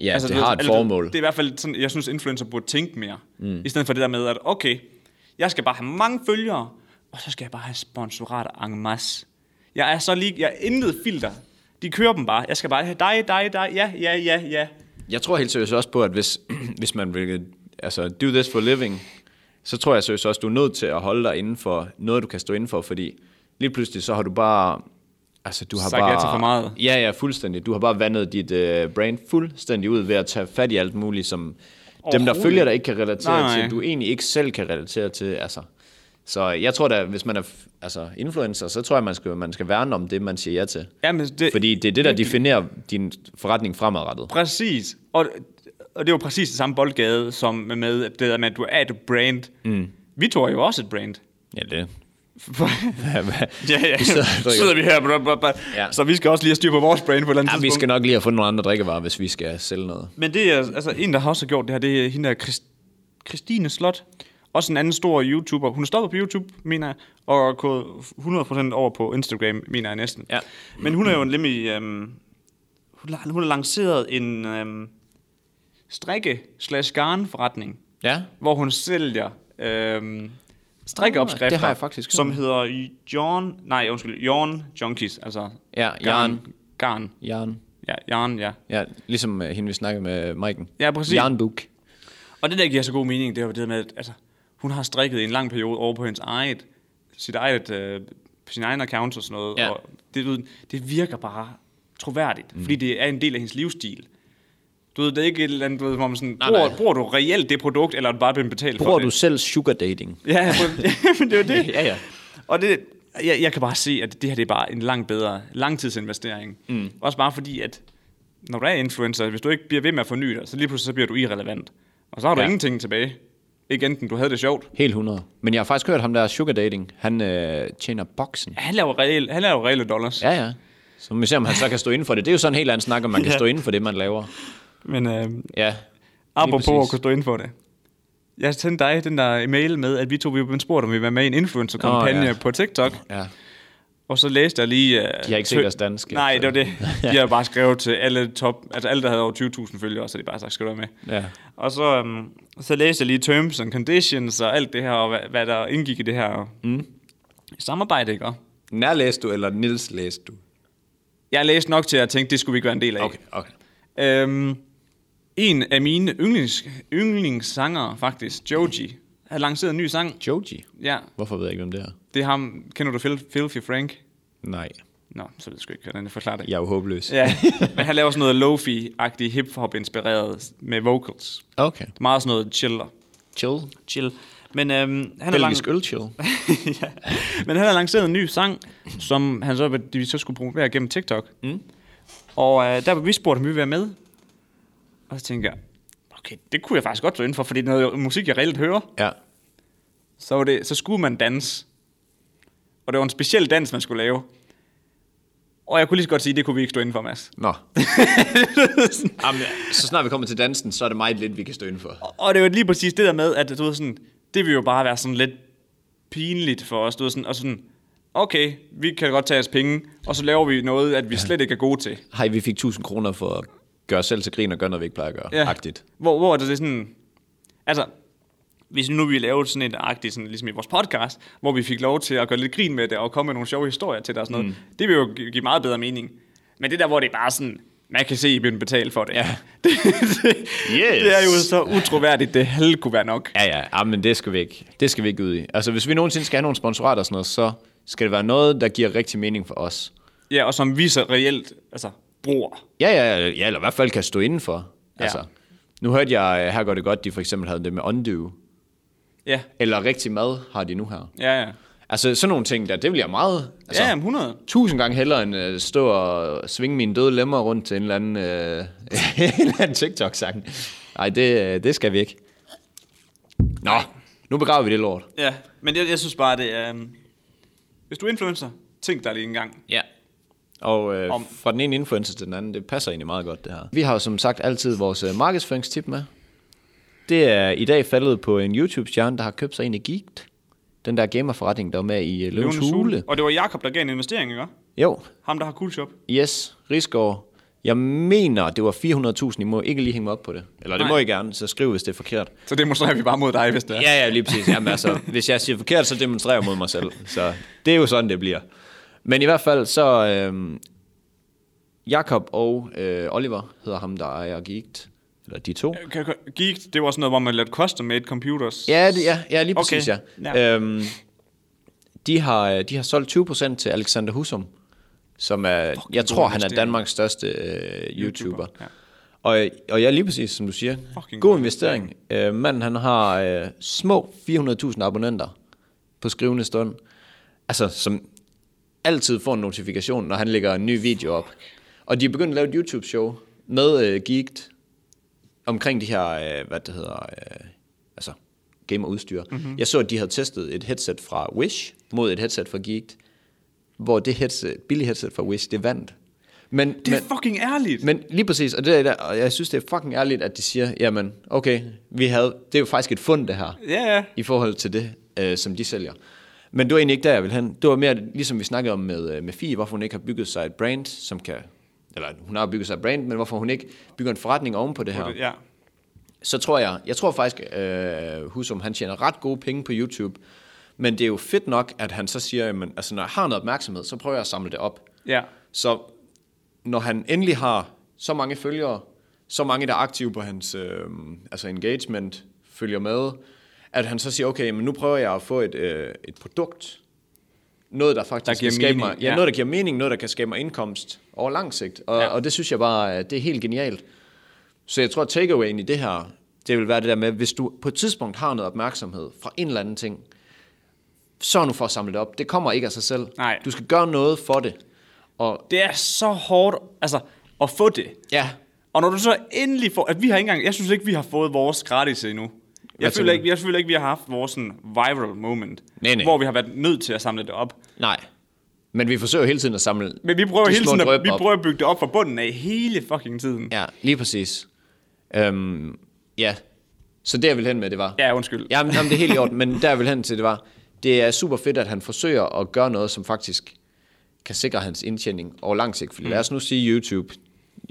S2: ja altså, det
S1: du ved,
S2: har et
S1: eller du-
S2: formål.
S1: Det er i hvert fald sådan, jeg synes, influencer burde tænke mere. Mm. I stedet for det der med, at okay, jeg skal bare have mange følgere, og så skal jeg bare have sponsorater en masse. Jeg er så lige, jeg er intet filter. De kører dem bare. Jeg skal bare have dig, dig, dig, ja, ja, ja, ja.
S2: Jeg tror helt seriøst også på, at hvis, hvis man vil altså, do this for a living, så tror jeg seriøst også, du er nødt til at holde dig inden for noget, du kan stå inden for, fordi lige pludselig så har du bare... Altså, du har
S1: Sagt ja
S2: bare...
S1: til for meget.
S2: Ja, ja, fuldstændig. Du har bare vandet dit øh, brain fuldstændig ud ved at tage fat i alt muligt, som dem, der
S1: Overhovedet
S2: følger dig, ikke kan relatere
S1: Nej, nej.
S2: til, du egentlig ikke selv kan relatere til. Altså. Så jeg tror da, hvis man er f- altså, influencer, så tror jeg, man skal, man skal værne om det, man siger ja til.
S1: Jamen, det-
S2: Fordi det er det, der definerer din forretning fremadrettet.
S1: Præcis. Og, og det var præcis det samme boldgade, som med det der med, at du er et brand. Mm. Vi tog jo også et brand.
S2: Ja, det.
S1: ja, ja.
S2: Vi sidder og
S1: Så
S2: drikker.
S1: sidder vi her. Bla, bla, bla. Ja.
S2: Ja.
S1: Så vi skal også lige have styr på vores brand på et eller andet
S2: ja,
S1: tidspunkt.
S2: vi skal nok lige have fundet nogle andre drikkevarer, hvis vi skal sælge noget.
S1: Men det er altså en, der har også gjort det her, det er hende der Christ- Christine Slot. Også en anden stor YouTuber. Hun stopper på YouTube, mener jeg, og er gået 100% over på Instagram, mener jeg næsten.
S2: Ja.
S1: Men hun er jo en lemmy... Øhm, hun, har, hun har lanceret en øhm, strikke-slash-garn-forretning,
S2: Ja.
S1: hvor hun sælger øhm, strikkeopskrifter,
S2: Ah, det har jeg faktisk hørt
S1: som
S2: om.
S1: hedder Jorn... Nej, undskyld, Jorn Junkies, altså
S2: Ja,
S1: garn.
S2: Yarn.
S1: Garn.
S2: Jern.
S1: Ja, Jorn, ja.
S2: Ja, ligesom øh, hende, vi snakkede med Maiken.
S1: Ja, præcis.
S2: Jarnbook.
S1: Og det, der giver så god mening, det er jo det med, at altså, hun har strikket i en lang periode over på hendes eget, sit eget, øh, på sin egen account og sådan noget.
S2: Ja.
S1: Og det, du, ved, det virker bare troværdigt, mm. fordi det er en del af hendes livsstil. Du ved, det er ikke et eller andet, du ved, hvor man sådan,
S2: Nej,
S1: bruger,
S2: nej.
S1: bruger, du reelt det produkt, eller er du bare blevet betalt for
S2: Bruger
S1: det?
S2: du selv sugar dating?
S1: Ja, men det er jo det.
S2: Ja, ja.
S1: Og det, jeg, jeg kan bare se, at det her det er bare en langt bedre langtidsinvestering. Mm. Også bare fordi, at når du er influencer, hvis du ikke bliver ved med at forny dig, så lige pludselig så bliver du irrelevant. Og så har du ja.
S2: Ja.
S1: ingenting tilbage. Ikke enten du havde det sjovt.
S2: Helt 100. Men jeg har faktisk hørt ham der sugar dating. Han øh, tjener boksen.
S1: Han laver reelle, han laver reelle dollars.
S2: Ja, ja. Så må vi se, om han så kan stå inden for det. Det er jo sådan en helt anden snak, om man kan
S1: Ja.
S2: stå inden for det, man laver.
S1: Men øh,
S2: Ja.
S1: apropos
S2: præcis.
S1: at kunne stå inden for det. Jeg sendte dig den der mail med, at vi to vi var blevet spurgt, om vi var med i en influencer-kampagne
S2: Nå,
S1: oh,
S2: ja.
S1: ja. på TikTok.
S2: Ja.
S1: Og så læste jeg lige... Uh,
S2: De har ikke set os danske,
S1: Nej,
S2: så-
S1: det var det. De har bare skrevet til alle top... Altså alle, der havde over 20.000 følgere, så de bare sagt, skal du være med.
S2: Ja.
S1: Og så, um, så læste jeg lige terms and conditions og alt det her, og hvad, hvad der indgik i det her mm. samarbejde, ikke?
S4: Nærlæste du, eller Nils læste du?
S1: Jeg læste nok til, at jeg tænkte, det skulle vi ikke være en del af.
S4: Okay, okay.
S1: Øhm, en af mine yndlings, yndlingssanger, faktisk, Joji, har lanceret en ny sang.
S2: Joji.
S1: Ja,
S2: Hvorfor ved jeg ikke, hvem det er?
S1: det er ham. Kender du Phil, Filthy Frank?
S2: Nej.
S1: Nå, så ved jeg sgu ikke, hvordan jeg forklarer det.
S4: Jeg er jo håbløs.
S1: Ja, men han laver sådan noget lofi-agtig hip-hop-inspireret med vocals.
S2: Okay.
S1: Meget sådan noget chiller.
S2: Chill.
S1: Chill. Men, øhm, han er lang...
S2: Belgisk ølchill.
S1: ja. Men han har lanceret en ny sang, som han så, vil- de så skulle promovere gennem TikTok. Mm. Og øh, der blev vi spurgt, om vi ville være med. Og så tænkte jeg, okay, det kunne jeg faktisk godt stå inden for, fordi det er noget musik, jeg reelt hører.
S2: Ja.
S1: Så, var det, så skulle man danse. Og det var en speciel dans, man skulle lave. Og jeg kunne lige så godt sige, det kunne vi ikke stå inden for, Mads.
S2: Nå. Jamen, så snart vi kommer til dansen, så er det meget lidt, vi kan stå indenfor.
S1: Og det var lige præcis det der med, at du ved, sådan, det ville jo bare være sådan lidt pinligt for os. Du ved, sådan, og sådan, okay, vi kan godt tage jeres penge, og så laver vi noget, at vi slet ikke er gode til.
S2: Hej, vi fik 1000 kroner for at gøre os selv til grin og gøre noget, vi ikke plejer at gøre.
S1: Ja.
S2: Agtigt.
S1: Hvor, hvor det er sådan... Altså, hvis nu vi lavede sådan et agtigt, sådan, ligesom i vores podcast, hvor vi fik lov til at gøre lidt grin med det, og komme med nogle sjove historier til det og sådan noget, mm. det ville jo gi- give meget bedre mening. Men det der, hvor det er bare sådan, man kan se, I bliver betalt for det. Ja. Det, det, det, er jo så utroværdigt, det halv kunne være nok.
S2: Ja, ja, ja, men det skal vi ikke. Det skal vi ikke ud i. Altså, hvis vi nogensinde skal have nogle sponsorater og sådan noget, så skal det være noget, der giver rigtig mening for os.
S1: Ja, og som vi så reelt altså, bruger.
S2: Ja, ja, ja, ja, eller i hvert fald kan stå indenfor. Ja. Altså, nu hørte jeg, øh, her går det godt, de for eksempel havde det med Undo.
S1: Ja,
S2: Eller rigtig mad har de nu her.
S1: ja, ja.
S2: Altså, sådan nogle ting der, det bliver meget... Altså,
S1: Ja, jamen, 100.
S2: tusind gange hellere end at stå og svinge mine døde lemmer rundt til en eller anden, øh, en eller anden TikTok-sang. Nej, det, øh, det skal vi ikke. Nå, nu begraver vi det lort.
S1: Ja, men jeg, jeg synes bare, det er... øhm, hvis du er influencer, tænk dig lige en gang.
S2: Ja. Og øh,
S1: Om-
S2: fra den ene influencer til den anden, det passer egentlig meget godt det her. Vi har jo som sagt altid vores øh, markedsføringstip med. Det er i dag faldet på en YouTube-stjerne, der har købt sig en i Geeked. Den der gamerforretning, der var med i øh, Løvens
S1: Løvenes Hule.
S2: Hule.
S1: Og det var Jakob der gav en investering, ikke?
S2: Jo,
S1: Ham, der har cool shop.
S2: Yes, Rigsgaard. Jeg mener, det var 400.000. I må ikke lige hænge mig op på det. Eller det
S1: Nej.
S2: Nej. må I gerne, så skriv, hvis det er forkert.
S1: Så demonstrerer vi bare mod dig, hvis det er.
S2: Ja, ja, lige præcis. Jamen, altså, hvis jeg siger forkert, så demonstrerer jeg mod mig selv. Så det er jo sådan, det bliver. Men i hvert fald, så... Øh, Jakob og øh, Oliver hedder ham, der ejer Geeked. Eller de to.
S1: Kan- kan- Geek, det var sådan noget, hvor man lavede custom-made computers.
S2: Ja, det, ja, ja lige
S1: Okay.
S2: præcis, okay. ja.
S1: Ja.
S2: ja. Øhm, de, har, øh, de har solgt 20% til Alexander Husum, som er, jeg
S1: god
S2: tror, han er
S1: investering.
S2: Danmarks største øh, YouTuber.
S1: Ja.
S2: Ja. Og, og jeg lige præcis, som du siger,
S1: Fucking god
S2: god investering. Øh, manden, han har øh, små 400.000 abonnenter på skrivende stund. Altså, som altid får en notifikation, når han lægger en ny video op. Og de er begyndt at lave et YouTube-show med øh, Geeked, omkring de her, øh, hvad det hedder, øh, altså gamerudstyr.
S1: Mhm.
S2: Mm-hmm. Jeg så, at de havde testet et headset fra Wish mod et headset fra Geeked, hvor det headset, billige headset fra Wish, det vandt. Men,
S1: Det
S2: men,
S1: er fucking ærligt.
S2: men lige præcis, og, det er der, og jeg synes, det er fucking ærligt, at de siger, jamen, okay, vi havde, det er jo faktisk et fund, det her,
S1: Ja, ja.
S2: i forhold til det, øh, som de sælger. Men det var egentlig ikke der, jeg ville hen. Det var mere, ligesom vi snakkede om med, øh, med Fie, hvorfor hun ikke har bygget sig et brand, som kan, eller hun har bygget sig et brand, men hvorfor hun ikke bygger en forretning oven på det her
S1: Ja.
S2: så tror jeg, jeg tror faktisk, øh, Husum, han tjener ret gode penge på YouTube, men det er jo fedt nok, at han så siger, jamen, altså når jeg har noget opmærksomhed, så prøver jeg at samle det op.
S1: Ja.
S2: Så når han endelig har så mange følgere, så mange, der er aktive på hans øh, altså engagement, følger med, at han så siger, okay, men nu prøver jeg at få et, øh, et produkt, noget, der faktisk
S1: Der giver
S2: kan skabe
S1: mening,
S2: mig, ja,
S1: ja.
S2: ja. Noget, der giver mening, noget, der kan skabe mig indkomst over lang sigt. Og,
S1: Ja.
S2: ja. og det synes jeg bare, øh, det er helt genialt. Så jeg tror, at takeawayen i det her, det vil være det der med, hvis du på et tidspunkt har noget opmærksomhed fra en eller anden ting, sørg nu for at samle det op. Det kommer ikke af sig selv.
S1: Nej.
S2: Du skal gøre noget for det. Og
S1: Det er så hårdt, altså, at få det.
S2: ja,
S1: Og når du så endelig får... At vi har ikke engang... Jeg synes ikke, vi har fået vores gratis endnu. Jeg
S2: tænker
S1: føler,
S2: du?
S1: ikke, jeg føler ikke, vi har haft vores sådan, viral moment,
S2: Nej, nej.
S1: hvor vi har været nødt til at samle det op.
S2: nej. Men vi forsøger hele tiden at samle
S1: Men vi prøver
S2: de
S1: hele
S2: små
S1: tiden at,
S2: dryp
S1: vi
S2: op.
S1: prøver at bygge det op fra bunden af hele fucking tiden.
S2: Ja, lige præcis. Øhm, ja, så der jeg ville hen med, det var.
S1: Ja, undskyld.
S2: Ja, men, jamen, det er helt i orden, men der jeg ville hen til, det var, det er super fedt, at han forsøger at gøre noget, som faktisk kan sikre hans indtjening over lang sigt. Fordi mm. lad os nu sige YouTube,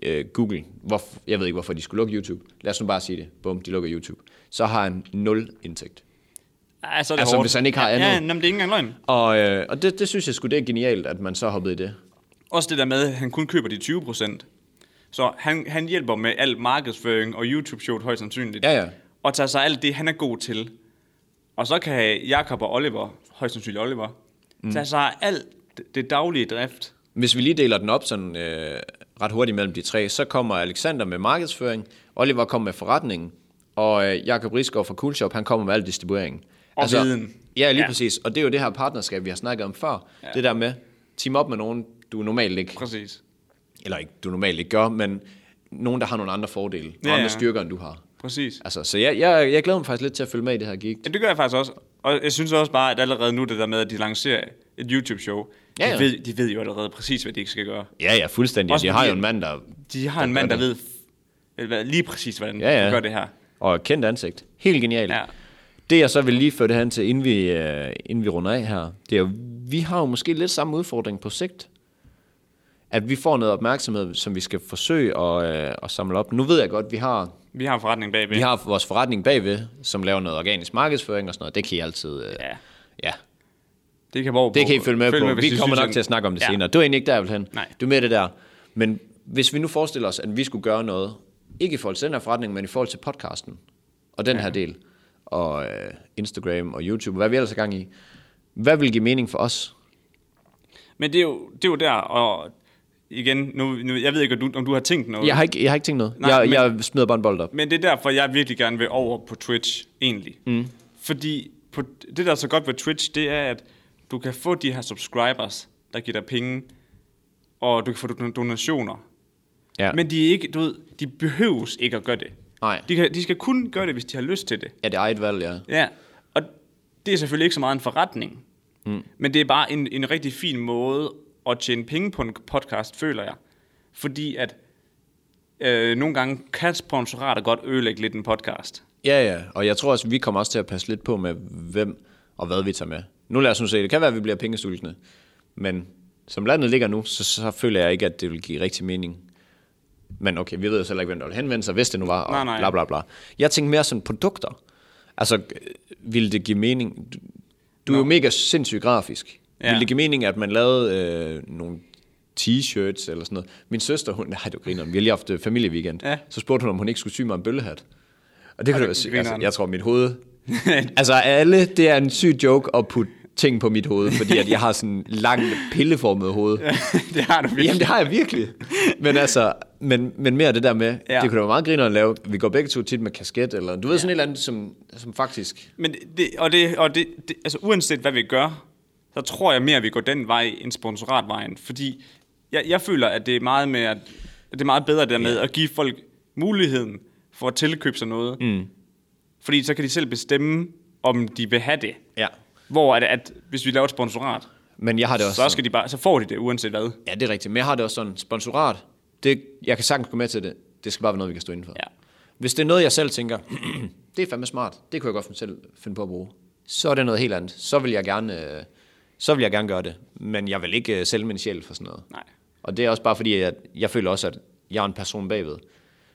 S2: øh, Google, hvor, jeg ved ikke, hvorfor de skulle lukke YouTube. Lad os nu bare sige det. Bum, de lukker YouTube. Så har han nul indtægt.
S1: Ej, så er det
S2: Altså,
S1: hårdt.
S2: hvis han ikke har
S1: Ja,
S2: andet.
S1: Ja, jamen, det er ikke engang løgn.
S2: Og, øh, og det, det synes jeg sgu, det er genialt, at man så hoppede i det.
S1: Også det der med, at han kun køber de 20 procent. Så han, han hjælper med alt markedsføring og YouTube-showet højst sandsynligt.
S2: Ja, ja.
S1: Og tager sig alt det, han er god til. Og så kan Jakob og Oliver, højst sandsynligt Oliver, mm. tage sig af alt det daglige drift.
S2: Hvis vi lige deler den op sådan øh, ret hurtigt mellem de tre, så kommer Alexander med markedsføring, Oliver kommer med forretningen, og øh, Jakob Risgaard fra Coolshop, han kommer med al distribueringen. Altså,
S1: Og viden.
S2: Ja,
S1: Ja.
S2: lige ja. præcis. Og det er jo det her partnerskab, vi har snakket om før. Ja. Det der med, team op med nogen, du normalt ikke
S1: Præcis.
S2: eller ikke, du normalt ikke gør, men nogen, der har nogle andre fordele, ja,
S1: Ja,
S2: og andre
S1: ja.
S2: styrker, end du har.
S1: Præcis.
S2: Altså, så jeg, jeg, jeg glæder mig faktisk lidt til at følge med i det her gig.
S1: Ja, det gør jeg faktisk også. Og jeg synes også bare, at allerede nu det der med, at de lancerer et YouTube-show,
S2: Ja,
S1: de,
S2: ja.
S1: ved, de ved jo allerede præcis, hvad de ikke skal gøre.
S2: Ja, ja, fuldstændig.
S1: Også
S2: Også de har
S1: fordi-
S2: jo en mand, der
S1: De har en
S2: gør
S1: mand, der
S2: det.
S1: ved f- hvad- lige præcis, hvordan
S2: Ja, ja.
S1: de gør det her.
S2: og et kendt ansigt. Helt genialt.
S1: Ja.
S2: Det, jeg så vil lige føre det hen til, inden vi, øh, inden vi runder af her, det er jo, vi har jo måske lidt samme udfordring på sigt. At vi får noget opmærksomhed, som vi skal forsøge at, øh, at samle op. Nu ved jeg godt, vi har
S1: Vi har en forretning bagved.
S2: Vi har vores forretning bagved, som laver noget organisk markedsføring og sådan noget. Det kan I altid... Øh,
S1: Ja.
S2: ja.
S1: Det kan, Borg
S2: Det kan I følge med på.
S1: hvis
S2: vi
S1: I
S2: kommer
S1: synes,
S2: nok til at snakke om det
S1: ja.
S2: ja. senere. Du er egentlig ikke der, jeg vil hen.
S1: Nej.
S2: Du er med i det der. Men hvis vi nu forestiller os, at vi skulle gøre noget, ikke i forhold til den her forretning, men i forhold til podcasten og den ja. her del, og øh, Instagram og YouTube, hvad vi ellers er gang i. Hvad vil give mening for os?
S1: Men det er, jo, det er jo der, og igen, nu, nu, jeg ved ikke, om du, om du har tænkt noget.
S2: Jeg har ikke, jeg har ikke tænkt noget.
S1: Nej,
S2: Nej, jeg,
S1: men-
S2: jeg smider bare en bold op.
S1: Men det er derfor, jeg virkelig gerne vil over på Twitch, egentlig. Mm. Fordi på, det, der er så godt ved Twitch, det er, at du kan få de her subscribers, der giver dig penge, og du kan få don- donationer.
S2: Ja.
S1: Men de, er ikke, du ved, de behøves ikke at gøre det.
S2: Nej.
S1: De, kan, de skal kun gøre det, hvis de har lyst til det.
S2: Ja, det er eget valg, ja.
S1: Ja, og det er selvfølgelig ikke så meget en forretning, mm. men det er bare en, en rigtig fin måde at tjene penge på en podcast, føler jeg. Fordi at øh, nogle gange kan sponsorater godt ødelægge lidt en podcast.
S2: Ja, ja, og jeg tror også, vi kommer også til at passe lidt på med, hvem og hvad vi tager med. Nu lad os nu se, det kan være, at vi bliver pengesultne, men som landet ligger nu, så, så føler jeg ikke, at det vil give rigtig mening. Men okay, vi ved jo selv ikke, hvem der vil henvende sig, hvis det nu var, og
S1: Nej, nej.
S2: bla bla bla. Jeg tænkte mere sådan produkter. Altså, øh, ville det give mening? Du, du er jo mega sindssygt grafisk.
S1: Ja.
S2: Ja. Ville det give mening, at man lavede øh, nogle t-shirts eller sådan noget? Min søster, hun, nej, du griner, vi har lige haft øh, familieweekend,
S1: Ja.
S2: ja. så spurgte hun, om hun ikke skulle sy mig en bøllehat. Og det kunne det være sy- altså,
S1: grineren.
S2: jeg tror, mit hoved... altså, alle, det er en syg joke at putte ting på mit hoved, fordi at jeg har sådan en lang pilleformet hoved.
S1: det har du virkelig.
S2: Jamen, det har jeg virkelig. Men altså, men, men mere det der med,
S1: Ja.
S2: ja. det kunne da være meget griner at lave. Vi går begge to tit med kasket, eller du ved sådan et eller andet, som, som faktisk...
S1: Men det, og det, og det, det, altså uanset hvad vi gør, så tror jeg mere, at vi går den vej end sponsoratvejen. Fordi jeg, jeg føler, at det er meget, med, at, at det er meget bedre det der med at give folk muligheden for at tilkøbe sig noget. Mm. Fordi så kan de selv bestemme, om de vil have det.
S2: Ja.
S1: Hvor at, at hvis vi laver et sponsorat,
S2: Men jeg har det også
S1: så, skal de bare, så får de det uanset hvad.
S2: Ja, det er rigtigt. Men jeg har det også sådan, sponsorat, det, jeg kan sagtens gå med til det. Det skal bare være noget, vi kan stå indenfor.
S1: Ja.
S2: Hvis det er noget, jeg selv tænker, det er fandme smart, det kunne jeg godt selv finde på at bruge, så er det noget helt andet. Så vil jeg gerne, øh, så vil jeg gerne gøre det. Men jeg vil ikke øh, sælge min sjæl for sådan noget.
S1: Nej.
S2: Og det er også bare fordi, at jeg føler også, at jeg er en person bagved.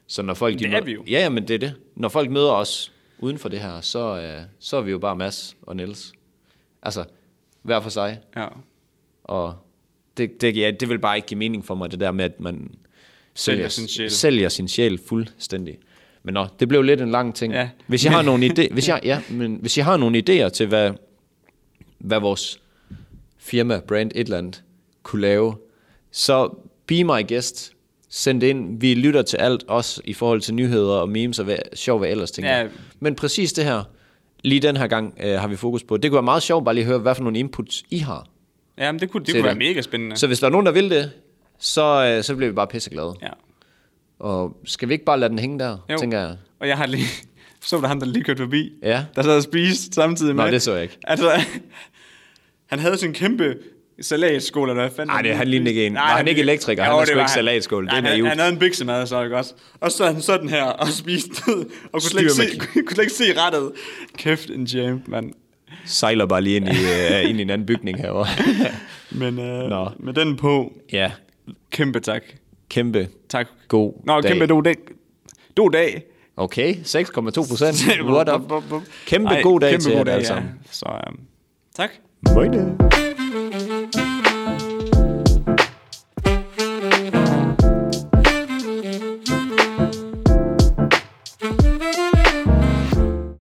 S2: Så når folk,
S1: det
S2: møder-
S1: er vi jo.
S2: Ja, ja, men det er det. Når folk møder os uden for det her, så, øh, så er vi jo bare Mads og Niels. Altså, hver for sig.
S1: Ja.
S2: Og det, det, ja, det vil bare ikke give mening for mig, det der med, at man sælger,
S1: sin sjæl.
S2: sælger sin sjæl fuldstændig. Men nå, det blev lidt en lang ting.
S1: Ja.
S2: Hvis, jeg har nogle ide, hvis, jeg, ja, men hvis jeg har nogle idéer til, hvad, hvad vores firma, brand, et eller andet, kunne lave, så be my guest. Send det ind. Vi lytter til alt, også i forhold til nyheder og memes og hvad, sjov, hvad ellers, tænker
S1: Ja.
S2: jeg. Men præcis det her, lige den her gang, øh, har vi fokus på. Det kunne være meget sjovt bare lige at høre, hvad for nogle inputs I har.
S1: Jamen, det kunne, det
S2: Til
S1: kunne være
S2: det.
S1: mega spændende.
S2: Så hvis der er nogen, der vil det, så, øh, så bliver vi bare pisseglade.
S1: Ja.
S2: Og skal vi ikke bare lade den hænge der,
S1: Jo.
S2: jo. tænker jeg?
S1: Og jeg har lige... Så der ham, der lige kørte forbi.
S2: Ja.
S1: Der sad og spiste samtidig med.
S2: Nå, det så jeg ikke.
S1: Altså, han havde sådan en kæmpe salatskål, eller hvad fanden?
S2: Ej, det- han lignede ikke en. Var han ikke elektriker? Han
S1: Jo,
S2: havde
S1: det
S2: sgu
S1: var
S2: ikke salatskål. Det
S1: Ej,
S2: er
S1: han,
S2: naivt.
S1: han havde en biksemad, så ikke også? Og så han sådan her og spiste det, og kunne slet, ikke se,
S2: Styrmand.
S1: kunne slet ikke se rettet. Kæft en jam, mand.
S2: Sejler bare lige ind i, øh, ind i en anden bygning herovre.
S1: Men øh,
S2: Nå.
S1: med den på,
S2: ja,
S1: kæmpe tak.
S2: kæmpe.
S1: Tak.
S2: God
S1: Nå,
S2: dag.
S1: kæmpe god dag. God dag.
S2: Okay, 6,2 procent. What up? Kæmpe
S1: Ej,
S2: god dag
S1: kæmpe
S2: til
S1: god
S2: jer
S1: dag, ja.
S2: alle sammen.
S1: Så øh, tak.
S2: Ja.